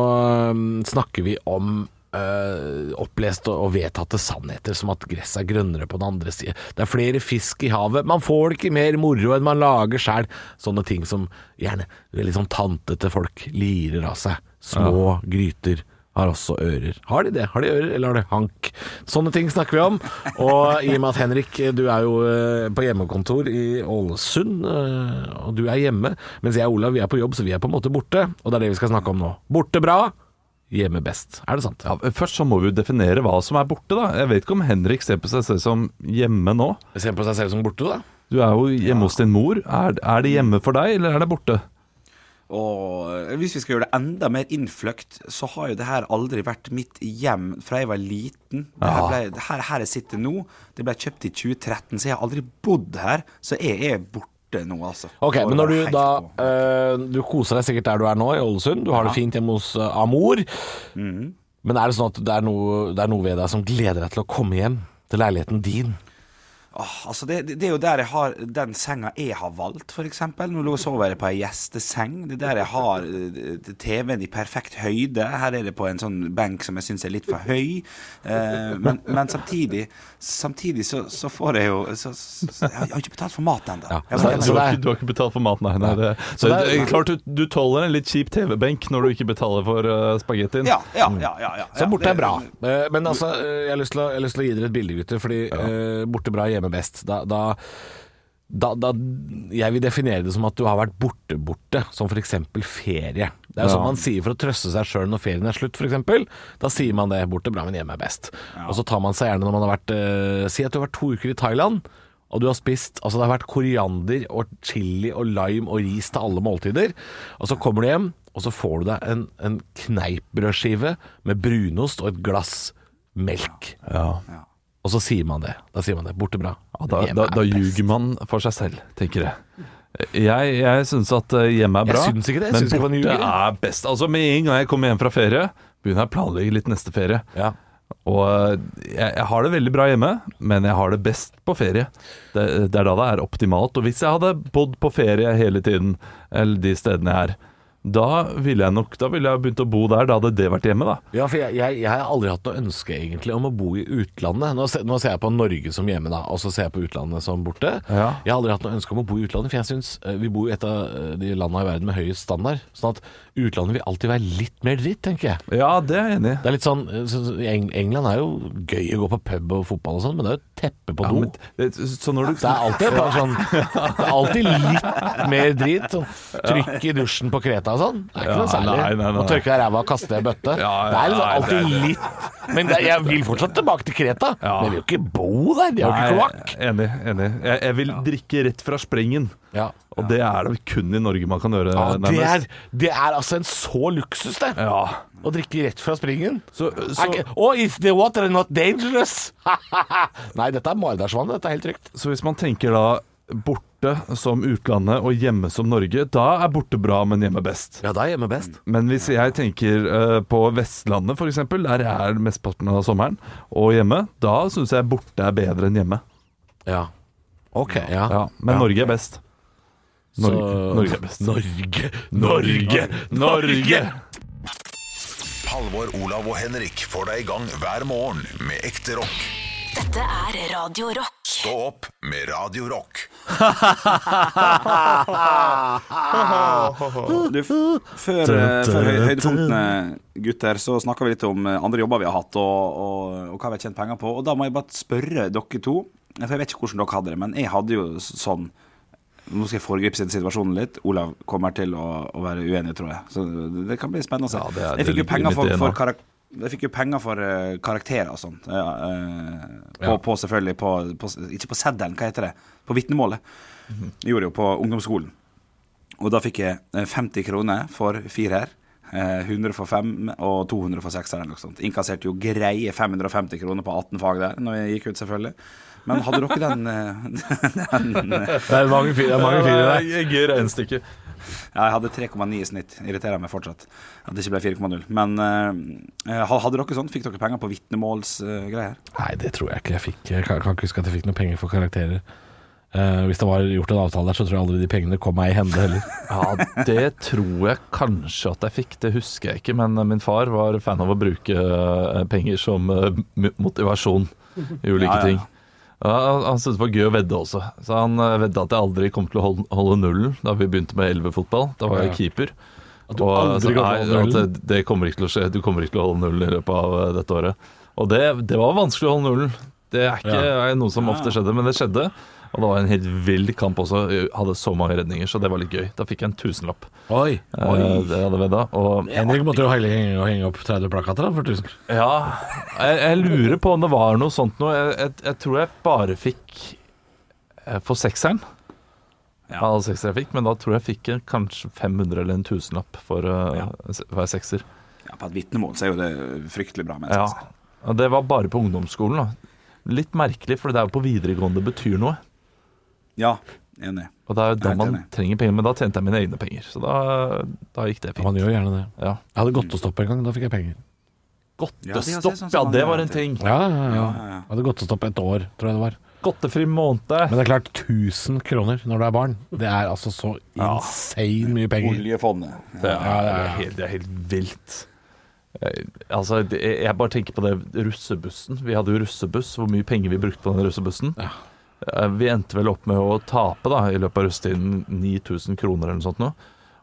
Speaker 5: mm, snakker vi om eh, oppleste og vedtatte sannheter, som at gresset er grønnere på den andre siden. Det er flere fisk i havet. Man får det ikke mer moro enn man lager sjæl. Sånne ting som gjerne veldig sånn tantete folk lirer av seg. Små gryter har også ører. Har de det? Har de ører, eller har de hank? Sånne ting snakker vi om. Og i og med at Henrik, du er jo eh, på hjemmekontor i Ålesund, eh, og du er hjemme, mens jeg og Olav vi er på jobb, så vi er på en måte borte. Og det er det vi skal snakke om nå. Borte bra, hjemme best. Er det sant?
Speaker 3: Ja, først så må vi jo definere hva som er borte, da. Jeg vet ikke om Henrik ser på seg selv som hjemme nå.
Speaker 5: Se på seg selv som borte, da.
Speaker 3: Du er jo hjemme hos din mor. Er, er det hjemme for deg, eller er det borte?
Speaker 4: Og hvis vi skal gjøre det enda mer innfløkt, så har jo det her aldri vært mitt hjem fra jeg var liten. Det her, ble, det her, her jeg sitter nå, det ble kjøpt i 2013, så jeg har aldri bodd her. Så jeg er borte nå, altså.
Speaker 5: Ok,
Speaker 4: For
Speaker 5: men når du
Speaker 4: å være helt
Speaker 5: da
Speaker 4: på.
Speaker 5: eh, Du koser deg sikkert der du er nå, i Ålesund. Du har det fint hjemme hos eh, Amor. Men er det sånn at det er, noe, det er noe ved deg som gleder deg til å komme hjem til leiligheten din?
Speaker 4: Åh, altså det, det, det er jo der jeg har den senga jeg har valgt, f.eks. Nå lå og sover jeg på ei gjesteseng. Det er der jeg har eh, TV-en i perfekt høyde. Her er det på en sånn benk som jeg syns er litt for høy. Eh, men, men samtidig Samtidig så, så får jeg jo så, så, så, Jeg har jeg har ikke betalt for mat ennå.
Speaker 5: så-
Speaker 4: Jeg må
Speaker 3: Du
Speaker 5: så
Speaker 4: gjennom-
Speaker 5: det
Speaker 3: har
Speaker 5: er-
Speaker 3: ikke, du har ikke betalt for mat, nei. Altså, nei det, så det, er klart du, du tåler en litt kjip TV-benk når du ikke betaler for eh, spagettien.
Speaker 4: Ja, ja, ja. ja, ja
Speaker 5: Så borte
Speaker 4: det-
Speaker 5: er bra. Eh, Men altså, eh, jeg har lyst til å, jeg har lyst til å gi dere et bilde, gutter. Fordi eh, borte bra, hjemme best. Da, da, da, da Jeg vil definere det som at du har vært borte borte, som f.eks. ferie. Det er jo sånn man sier for å trøste seg sjøl når ferien er slutt, f.eks. Da sier man det. Borte bra, men hjemme er best. Og så tar man seg gjerne når man har vært eh, Si at du har vært to uker i Thailand. Og du har spist Altså, det har vært koriander og chili og lime og ris til alle måltider. Og så kommer du hjem, og så får du deg en, en kneippbrødskive med brunost og et glass melk. Og så sier man det. Da sier man det. Borte bra.
Speaker 3: Ja, da, da, da ljuger man for seg selv, tenker jeg. Jeg, jeg syns at eh, hjemme
Speaker 5: Jeg
Speaker 3: er bra,
Speaker 5: syns ikke det. Jeg
Speaker 3: men
Speaker 5: syns ikke man
Speaker 3: borte
Speaker 5: ljuger.
Speaker 3: er best. Altså Med en gang jeg kommer hjem fra ferie, begynner jeg å planlegge litt neste ferie.
Speaker 5: Ja.
Speaker 3: Og eh, jeg, jeg har det veldig bra hjemme, men jeg har det best på ferie. Det, det er da det er optimalt. Og hvis jeg hadde bodd på ferie hele tiden, eller de stedene jeg er, da ville jeg nok Da ville jeg begynt å bo der. Da hadde det vært hjemme, da.
Speaker 5: Ja, for jeg, jeg, jeg har aldri hatt noe ønske egentlig om å bo i utlandet. Nå, se, nå ser jeg på Norge som hjemme, da, og så ser jeg på utlandet som borte.
Speaker 3: Ja.
Speaker 5: Jeg har aldri hatt noe ønske om å bo i utlandet, for jeg syns vi bor i et av eh, de landene i verden med høyest standard. Sånn at utlandet vil alltid være litt mer dritt, tenker jeg.
Speaker 3: Ja, det er jeg enig i.
Speaker 5: Det er litt sånn, eh, så, så, i Eng England er jo gøy å gå på pub og fotball og sånn, men det er jo et teppe på
Speaker 3: Ja,
Speaker 5: do.
Speaker 3: men det- så når du
Speaker 5: det er alltid bare sånn Det er alltid litt mer drit. Sånn, trykk i dusjen på Kreta og sånn. Det er ikke
Speaker 3: Ja,
Speaker 5: noe særlig.
Speaker 3: nei, nei, nei,
Speaker 5: Nå
Speaker 3: nei.
Speaker 5: tørker jeg ræva og kaster jeg bøtte.
Speaker 3: Ja, ja,
Speaker 5: det er liksom
Speaker 3: nei, det er
Speaker 5: alltid litt Men det, jeg vil fortsatt tilbake til Kreta. Men jeg vil jo ikke bo der. De har jo ikke kloakk.
Speaker 3: Enig. enig jeg, jeg vil drikke rett fra sprengen.
Speaker 5: Ja.
Speaker 3: Og det er det kun i Norge man kan gjøre,
Speaker 5: Ja, det, er,
Speaker 3: nærmest.
Speaker 5: det er altså en så luksus, det.
Speaker 3: Ja.
Speaker 5: Å drikke rett fra springen.
Speaker 3: Så, så,
Speaker 5: Er ikke- oh, if the water is not dangerous! Nei, dette er Maridalsvann. Dette er helt trygt.
Speaker 3: så hvis man tenker da borte som utlandet og hjemme som Norge, da er borte bra, men hjemme best.
Speaker 5: Ja, da er hjemme best.
Speaker 3: Men hvis jeg tenker eh, på Vestlandet, f.eks., der er mesteparten av sommeren, og hjemme, da syns jeg borte er bedre enn hjemme.
Speaker 5: Ja. Ok, ja.
Speaker 3: Ja, men Norge er best. Norge, Norge er best.
Speaker 5: Norge, Norge, Norge!
Speaker 1: Halvor, Olav og Henrik får deg i gang hver morgen med ekte rock.
Speaker 2: Dette er Radio Rock.
Speaker 1: Stå opp med Radio Rock.
Speaker 4: Du, f- før, eh, før høy- høydepunktene, gutter, så snakka vi litt om eh, andre jobber vi har hatt, og, og, og hva vi har tjent penger på. Og da må jeg bare spørre dere to, for jeg vet ikke hvordan dere hadde det, men jeg hadde jo s- sånn Nå skal jeg foregripe sin- situasjonen litt. Olav kommer til å, å være uenig, tror jeg. Så det- det kan bli spennende å se.
Speaker 3: Ja, det er-
Speaker 4: jeg fikk jo
Speaker 3: det ligger
Speaker 4: penger
Speaker 3: litt i
Speaker 4: for,
Speaker 3: det
Speaker 4: for
Speaker 3: nå.
Speaker 4: karak jeg fikk jo penger for eh, karakterer og sånt. Ja, eh, på, på selvfølgelig på, på, Ikke på seddelen, hva heter det? På vitnemålet.
Speaker 3: Mhm.
Speaker 4: Jeg gjorde det jo på ungdomsskolen. Og da fikk jeg eh, 50 kroner for firer. eh, 100 for fem og 200 for sekser. eller noe sånt. Innkasserte jo greie 550 kroner på 18 fag der når jeg gikk ut, selvfølgelig. Men hadde dere den, eh, den eh,
Speaker 5: Det er mange fire, det er mange fire der.
Speaker 3: Jeg gir regnestykket.
Speaker 4: Ja, jeg hadde 3,9 i snitt. Irriterer meg fortsatt at det ikke ble 4,0. Men eh, hadde dere sånn? Fikk dere penger på vitnemålsgreier?
Speaker 5: Nei, det tror jeg ikke jeg fikk. Jeg kan, kan ikke huske at jeg fikk noen penger for karakterer. Eh, hvis det var gjort en avtale der, så tror jeg aldri de pengene kom meg i hende heller.
Speaker 3: Ja, det tror jeg kanskje at jeg fikk, det husker jeg ikke. Men eh, min far var fan av å bruke eh, penger som eh, m- motivasjon i ulike
Speaker 4: Ja, ja, ja.
Speaker 3: ting. Ja, han- han syntes det var gøy å vedde også, så han eh, vedda at jeg aldri kom til å holde, holde nullen da vi begynte med elvefotball. Da var jeg keeper. At
Speaker 5: du aldri kom til å holde nullen?
Speaker 3: det, det kommer ikke til å skje, du kommer ikke til å holde nullen i løpet av eh, dette året. Og det, det var vanskelig å holde nullen. Det er ikke er noe som ofte skjedde, men det skjedde. Og det var en helt vill kamp også. Jeg hadde så mange redninger, så det var litt gøy. Da fikk jeg en tusenlapp.
Speaker 5: Oi.
Speaker 3: Eh, Det hadde vi da. Og
Speaker 5: Henrik måtte jo helle- henge, henge opp 30 plakater da, for 1000.
Speaker 3: ja, jeg, jeg lurer på om det var noe sånt noe. Jeg, jeg, jeg tror jeg bare fikk eh, for sekseren. Ja. Alle seksere jeg fikk, men da tror jeg jeg fikk en, kanskje 500 eller en tusenlapp for eh,
Speaker 4: Ja.
Speaker 3: se- hver sekser.
Speaker 4: Ja, på et vitnemål så er jo det fryktelig bra. Men jeg altså.
Speaker 3: Ja.
Speaker 4: skal si.
Speaker 3: Og det var bare på ungdomsskolen. da. Litt merkelig, for det er jo på videregående det betyr noe.
Speaker 4: ja, enig.
Speaker 3: Og det er jo da
Speaker 4: Helt
Speaker 3: man
Speaker 4: enig.
Speaker 3: trenger penger, men da tjente jeg mine egne penger. Så da, da gikk det
Speaker 5: Ja,
Speaker 3: fint.
Speaker 5: man gjør gjerne det.
Speaker 3: Ja.
Speaker 5: Jeg hadde godtestopp en gang, da fikk jeg penger.
Speaker 4: Ja, det er
Speaker 3: Godtestopp,
Speaker 4: sånn som
Speaker 3: ja,
Speaker 4: man
Speaker 3: det
Speaker 4: gjør
Speaker 3: var
Speaker 4: alltid.
Speaker 3: en ting.
Speaker 5: Ja, ja, ja.
Speaker 4: ja.
Speaker 5: Jeg hadde godtestopp et år, tror jeg det var.
Speaker 3: Godtefri måned.
Speaker 5: Men det er klart, 1000 kroner når du er barn, det er altså så insane mye
Speaker 4: Mm.
Speaker 5: penger.
Speaker 4: Oljefondet.
Speaker 3: Det er, det er, helt, det er helt vilt. Eh, Altså, det, jeg bare tenker på det russebussen. Vi hadde jo russebuss, hvor mye penger vi brukte på den russebussen. Eh, Vi endte vel opp med å tape da, i løpet av russetiden 9000 kroner eller noe sånt. Nå.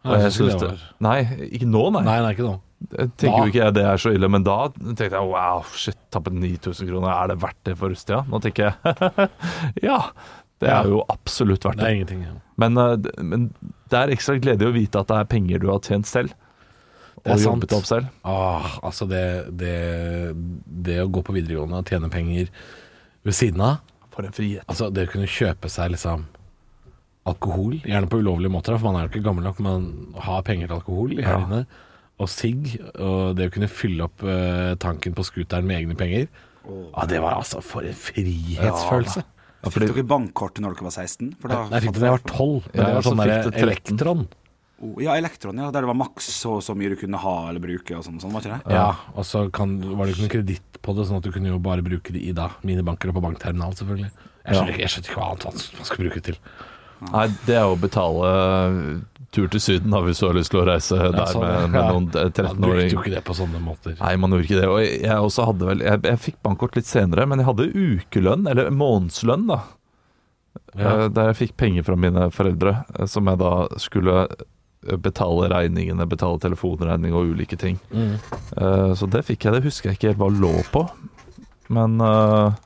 Speaker 5: Ja, jeg synes ikke det
Speaker 3: nei, ikke nå, nei.
Speaker 5: Nei, nei, ikke nå.
Speaker 3: Jeg tenker
Speaker 5: Da.
Speaker 3: jo ikke jeg det er så ille, men da tenkte jeg wow, shit, tappet 9000 kroner, er det verdt det for russetida? Nå tenker jeg ja, det er jo absolutt verdt
Speaker 5: Det
Speaker 3: det.
Speaker 5: er ingenting. Ja.
Speaker 3: Men, eh, d- men det er ekstra gledelig å vite at det er penger du har tjent selv.
Speaker 5: Det er
Speaker 3: Og
Speaker 5: sant.
Speaker 3: jobbet opp selv.
Speaker 5: Ah, altså det, det, det å gå på videregående og tjene penger ved siden av
Speaker 3: For en frihet.
Speaker 5: Altså det å kunne kjøpe seg liksom alkohol, gjerne på ulovlige måter, da, for man er jo ikke gammel nok, man har penger til alkohol i helgene. Og sigg, og det å kunne fylle opp eh, tanken på scooteren med egne penger. Ah, det var altså for en frihetsfølelse.
Speaker 4: Fikk dere bankkort når dere var 16? For da-
Speaker 5: Nei, jeg fikk det da jeg var tolv. Men
Speaker 3: Ja,
Speaker 5: det var
Speaker 3: så
Speaker 5: sånn
Speaker 3: fikk
Speaker 5: der
Speaker 3: det 13.
Speaker 5: elektron.
Speaker 4: Oh, ja, Elektron, ja. Der det var maks så og så mye du kunne ha eller bruke og sånn. sånn var ikke det?
Speaker 5: Ja, og så kan, var det ikke noe kreditt på det, sånn at du kunne jo bare bruke det i da minibanker og på bankterminal, selvfølgelig. Jeg skjønner, ikke, jeg skjønner ikke hva annet man- man skal bruke det til.
Speaker 3: Nei, det er å betale eh, tur til Syden, har vi så lyst til å reise der
Speaker 5: sånn,
Speaker 3: med, med
Speaker 5: ja.
Speaker 3: noen
Speaker 5: Man
Speaker 3: eh,
Speaker 5: brukte jo
Speaker 3: 13-åringer.
Speaker 5: ikke det på sånne måter.
Speaker 3: Nei, man gjorde ikke det. Og jeg, også hadde vel, jeg, jeg fikk bankkort litt senere, men jeg hadde ukelønn, eller månedslønn, da.
Speaker 5: Ja.
Speaker 3: Eh, Der jeg fikk penger fra mine foreldre, eh, som jeg da skulle eh, betale regningene, betale telefonregning og ulike ting. Eh, Så det fikk jeg, det husker jeg ikke helt hva lå på. Men eh,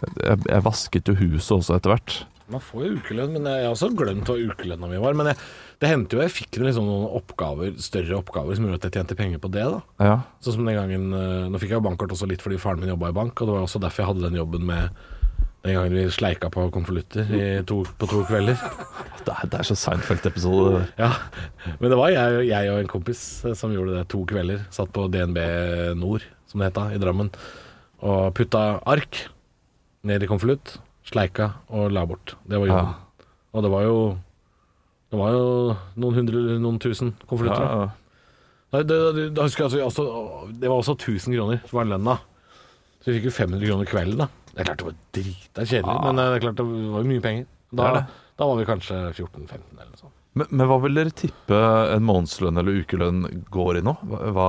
Speaker 3: jeg, jeg vasket jo huset også etter hvert.
Speaker 5: Man får jo ukelønn, men jeg har også glemt hva ukelønna mi var. Men jeg, det hendte jo jeg fikk noen, liksom, noen oppgaver, større oppgaver som gjorde at jeg tjente penger på det. da.
Speaker 3: Ja.
Speaker 5: Sånn som den gangen, eh, Nå fikk jeg jo bankkort også litt fordi faren min jobba i bank, og det var også derfor jeg hadde den jobben med Den gangen vi sleika på konvolutter i to- på to kvelder.
Speaker 3: Det er, det er så Seinfeld-episode.
Speaker 5: Ja, Men det var jeg, jeg og en kompis eh, som gjorde det to kvelder. Satt på DNB Nord, som det het da, i Drammen. Og putta ark ned i konvolutt, sleika og la bort. Det var jobben. Og det var jo det var jo noen hundre eller noen tusen
Speaker 3: Ja,
Speaker 5: konvolutter. da.
Speaker 3: ja.
Speaker 5: Nei, det, det, da husker jeg altså, også, Det var også 1000 kroner som var lønna. Så vi fikk jo 500 kroner kvelden, da. Det er klart det var drita kjedelig, men eh, det er klart det var jo mye penger. Da,
Speaker 3: Det er det.
Speaker 5: da var vi kanskje 14-15 eller noe sånt.
Speaker 3: Men, men hva vil dere tippe en månedslønn eller ukelønn går i nå? Hva, hva,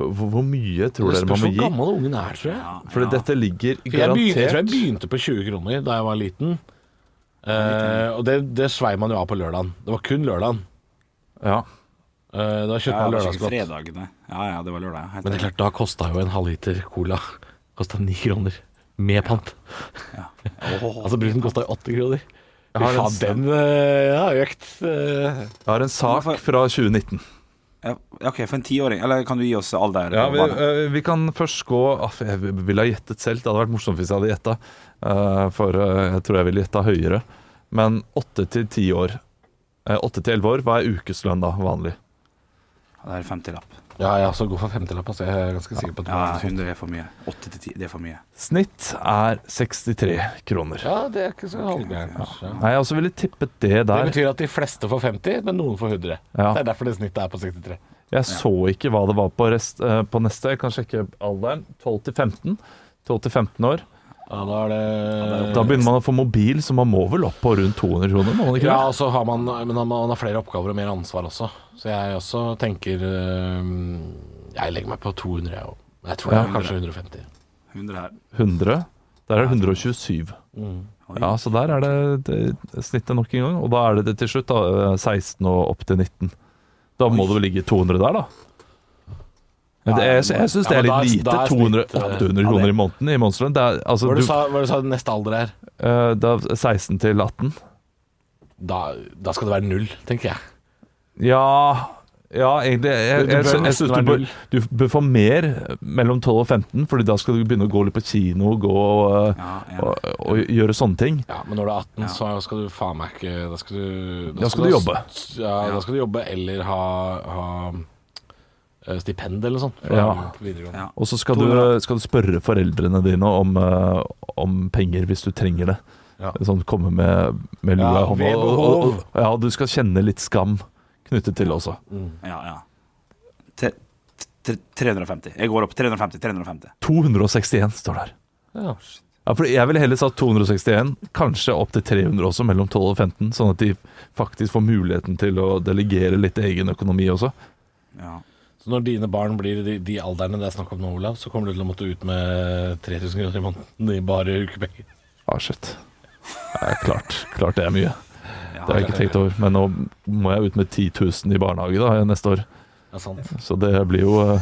Speaker 3: hvor, hvor mye tror
Speaker 5: Det
Speaker 3: dere
Speaker 5: spørs
Speaker 3: man må
Speaker 5: hvor
Speaker 3: gi?
Speaker 5: gammel ungen er, tror jeg.
Speaker 3: Fordi dette ligger
Speaker 5: For jeg, begyn- jeg tror jeg
Speaker 3: garantert
Speaker 5: begynte på 20 kroner da jeg var liten. Eh, og det, det svei man jo av på lørdagen. Det var kun lørdagen.
Speaker 3: Ja.
Speaker 5: Eh, da kjøpte
Speaker 4: Ja,
Speaker 5: man
Speaker 4: det var ikke
Speaker 5: lørdagsgodt.
Speaker 4: fredagene. Ja, ja, det var lørdag. ja. Helt
Speaker 5: Men det er klart, da kosta jo en halvliter cola Kosta ni kroner. Med pant. altså brusen kosta jo åtte kroner. Fy
Speaker 3: har en
Speaker 5: faen,
Speaker 3: s-
Speaker 5: den eh, har økt. eh.
Speaker 3: Jeg har en sak fra 2019.
Speaker 4: Ja, OK, for en tiåring. Eller kan du gi oss alder?
Speaker 3: Ja, vi,
Speaker 4: Hva da?
Speaker 3: eh, vi kan først gå ah, Jeg ville ha gjettet selv. Det hadde vært morsomt hvis jeg hadde gjetta. For eh, jeg tror jeg ville gjetta høyere. Men åtte til ti år. eh, Åtte til elleve år, hva er ukeslønn da, vanlig?
Speaker 4: det er 50-lapp.
Speaker 5: ja, ja, så gå for femtilapp. Altså, jeg er ganske sikker på at det
Speaker 4: Ja,
Speaker 5: var sånn.
Speaker 4: 100 er for mye. 8 til 10, det er for mye.
Speaker 3: Snitt er 63 kroner.
Speaker 5: Ja, det er ikke så halvgærent. kanskje.
Speaker 3: Nei, jeg også ville tippet det
Speaker 5: Det
Speaker 3: der.
Speaker 5: betyr at de fleste får 50, men noen får 100.
Speaker 3: Ja.
Speaker 5: Det er derfor det snittet er på 63.
Speaker 3: Jeg så ikke hva det var på, rest, eh, på neste. Jeg kan sjekke alderen. 12 til 15. 12 til 15 år.
Speaker 5: Ja, da er det Eh,
Speaker 3: Da begynner man å få mobil, så man må vel opp på rundt 200 kroner? Må man ikke
Speaker 5: Ja,
Speaker 3: det?
Speaker 5: og så har man, men han- man har flere oppgaver og mer ansvar også. Så jeg også tenker eh, Jeg legger meg på 200, jeg òg. Jeg tror det er kanskje 150.
Speaker 4: 100 her.
Speaker 3: 100. Der er det 127.
Speaker 5: Mm.
Speaker 3: Ja, så der er det, det snittet nok en gang. Og da er det det til slutt, da. eh, 16 og opp til 19. Da må det vel ligge 200 der, da. Men det, jeg, jeg syns det
Speaker 5: Ja, men
Speaker 3: er litt
Speaker 5: da
Speaker 3: lite.
Speaker 5: er- da er
Speaker 3: 200
Speaker 5: snitt, eh,
Speaker 3: 800 kroner i måneden i månedslønn. Det er, altså,
Speaker 5: Hva er det
Speaker 3: du,
Speaker 5: du sa, hva er det du sa neste alder er?
Speaker 3: eh, det er 16 til 18.
Speaker 5: Da, da skal det være null, tenker jeg.
Speaker 3: Ja ja, egentlig.
Speaker 5: Det-
Speaker 3: Jeg,
Speaker 5: det bør
Speaker 3: jeg, jeg,
Speaker 5: nesten
Speaker 3: synes
Speaker 5: være
Speaker 3: du bør,
Speaker 5: null.
Speaker 3: du bør få mer mellom 12 og 15, Fordi da skal du begynne å gå litt på kino gå og, eh,
Speaker 4: Ja, ja.
Speaker 3: og, og gjøre sånne ting.
Speaker 5: Ja, Men når du er 18, så skal du faen meg ikke Da skal du,
Speaker 3: Da skal du jobbe.
Speaker 5: Ja, da skal du jobbe eller ha, ha eh, stipend eller sånt. fra
Speaker 3: Ja.
Speaker 5: videregående.
Speaker 4: Ja.
Speaker 3: Og så skal, du, skal du spørre foreldrene dine om, eh, om penger hvis du trenger det.
Speaker 5: Ja.
Speaker 3: Sånn komme med, med lua
Speaker 5: Ja,
Speaker 3: i hånda.
Speaker 5: ved
Speaker 3: og-
Speaker 5: behov.
Speaker 3: og- og- Ja, du skal kjenne litt skam knyttet til det også.
Speaker 4: Ja, ja. Tre- tre- 350. Jeg går opp. 350, 350.
Speaker 3: 261 står der.
Speaker 5: Ja.
Speaker 3: Ja, for jeg ville heller sagt 261, kanskje opp til 300 også, mellom 12 og 15. Sånn at de faktisk får muligheten til å delegere litt egen økonomi også.
Speaker 4: Ja.
Speaker 5: Så når dine barn blir de, de alderne det er snakk om nå, Olav, så kommer du til å måtte ut med 3000 kroner i måneden i bare ukepenger.
Speaker 3: Ah, shit. Ja, klart, klart det er mye. Det har jeg ikke tenkt over. Men nå må jeg ut med 10 000 i barnehage da, neste år.
Speaker 5: Ja, sant.
Speaker 3: Så det blir jo, eh,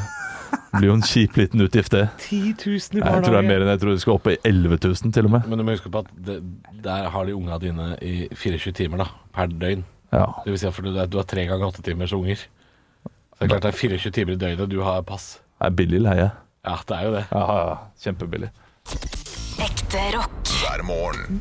Speaker 3: blir jo en kjip liten utgift, det.
Speaker 5: 10 000 i
Speaker 3: Nei, Jeg tror det er mer enn jeg tror det skal opp i 11 000, til og med.
Speaker 5: Men du må huske på at det, der har de unga dine i 24 timer da, per døgn.
Speaker 3: Ja.
Speaker 5: Det vil si at for du, det er- du har tre ganger åtte timers unger. Så det er klart det er 24 timer i døgnet du har pass.
Speaker 3: Det er billig leie.
Speaker 5: Ja, det er jo det.
Speaker 3: Ja, ja, ja. Kjempebillig.
Speaker 2: Ekte rock.
Speaker 1: hver morgen.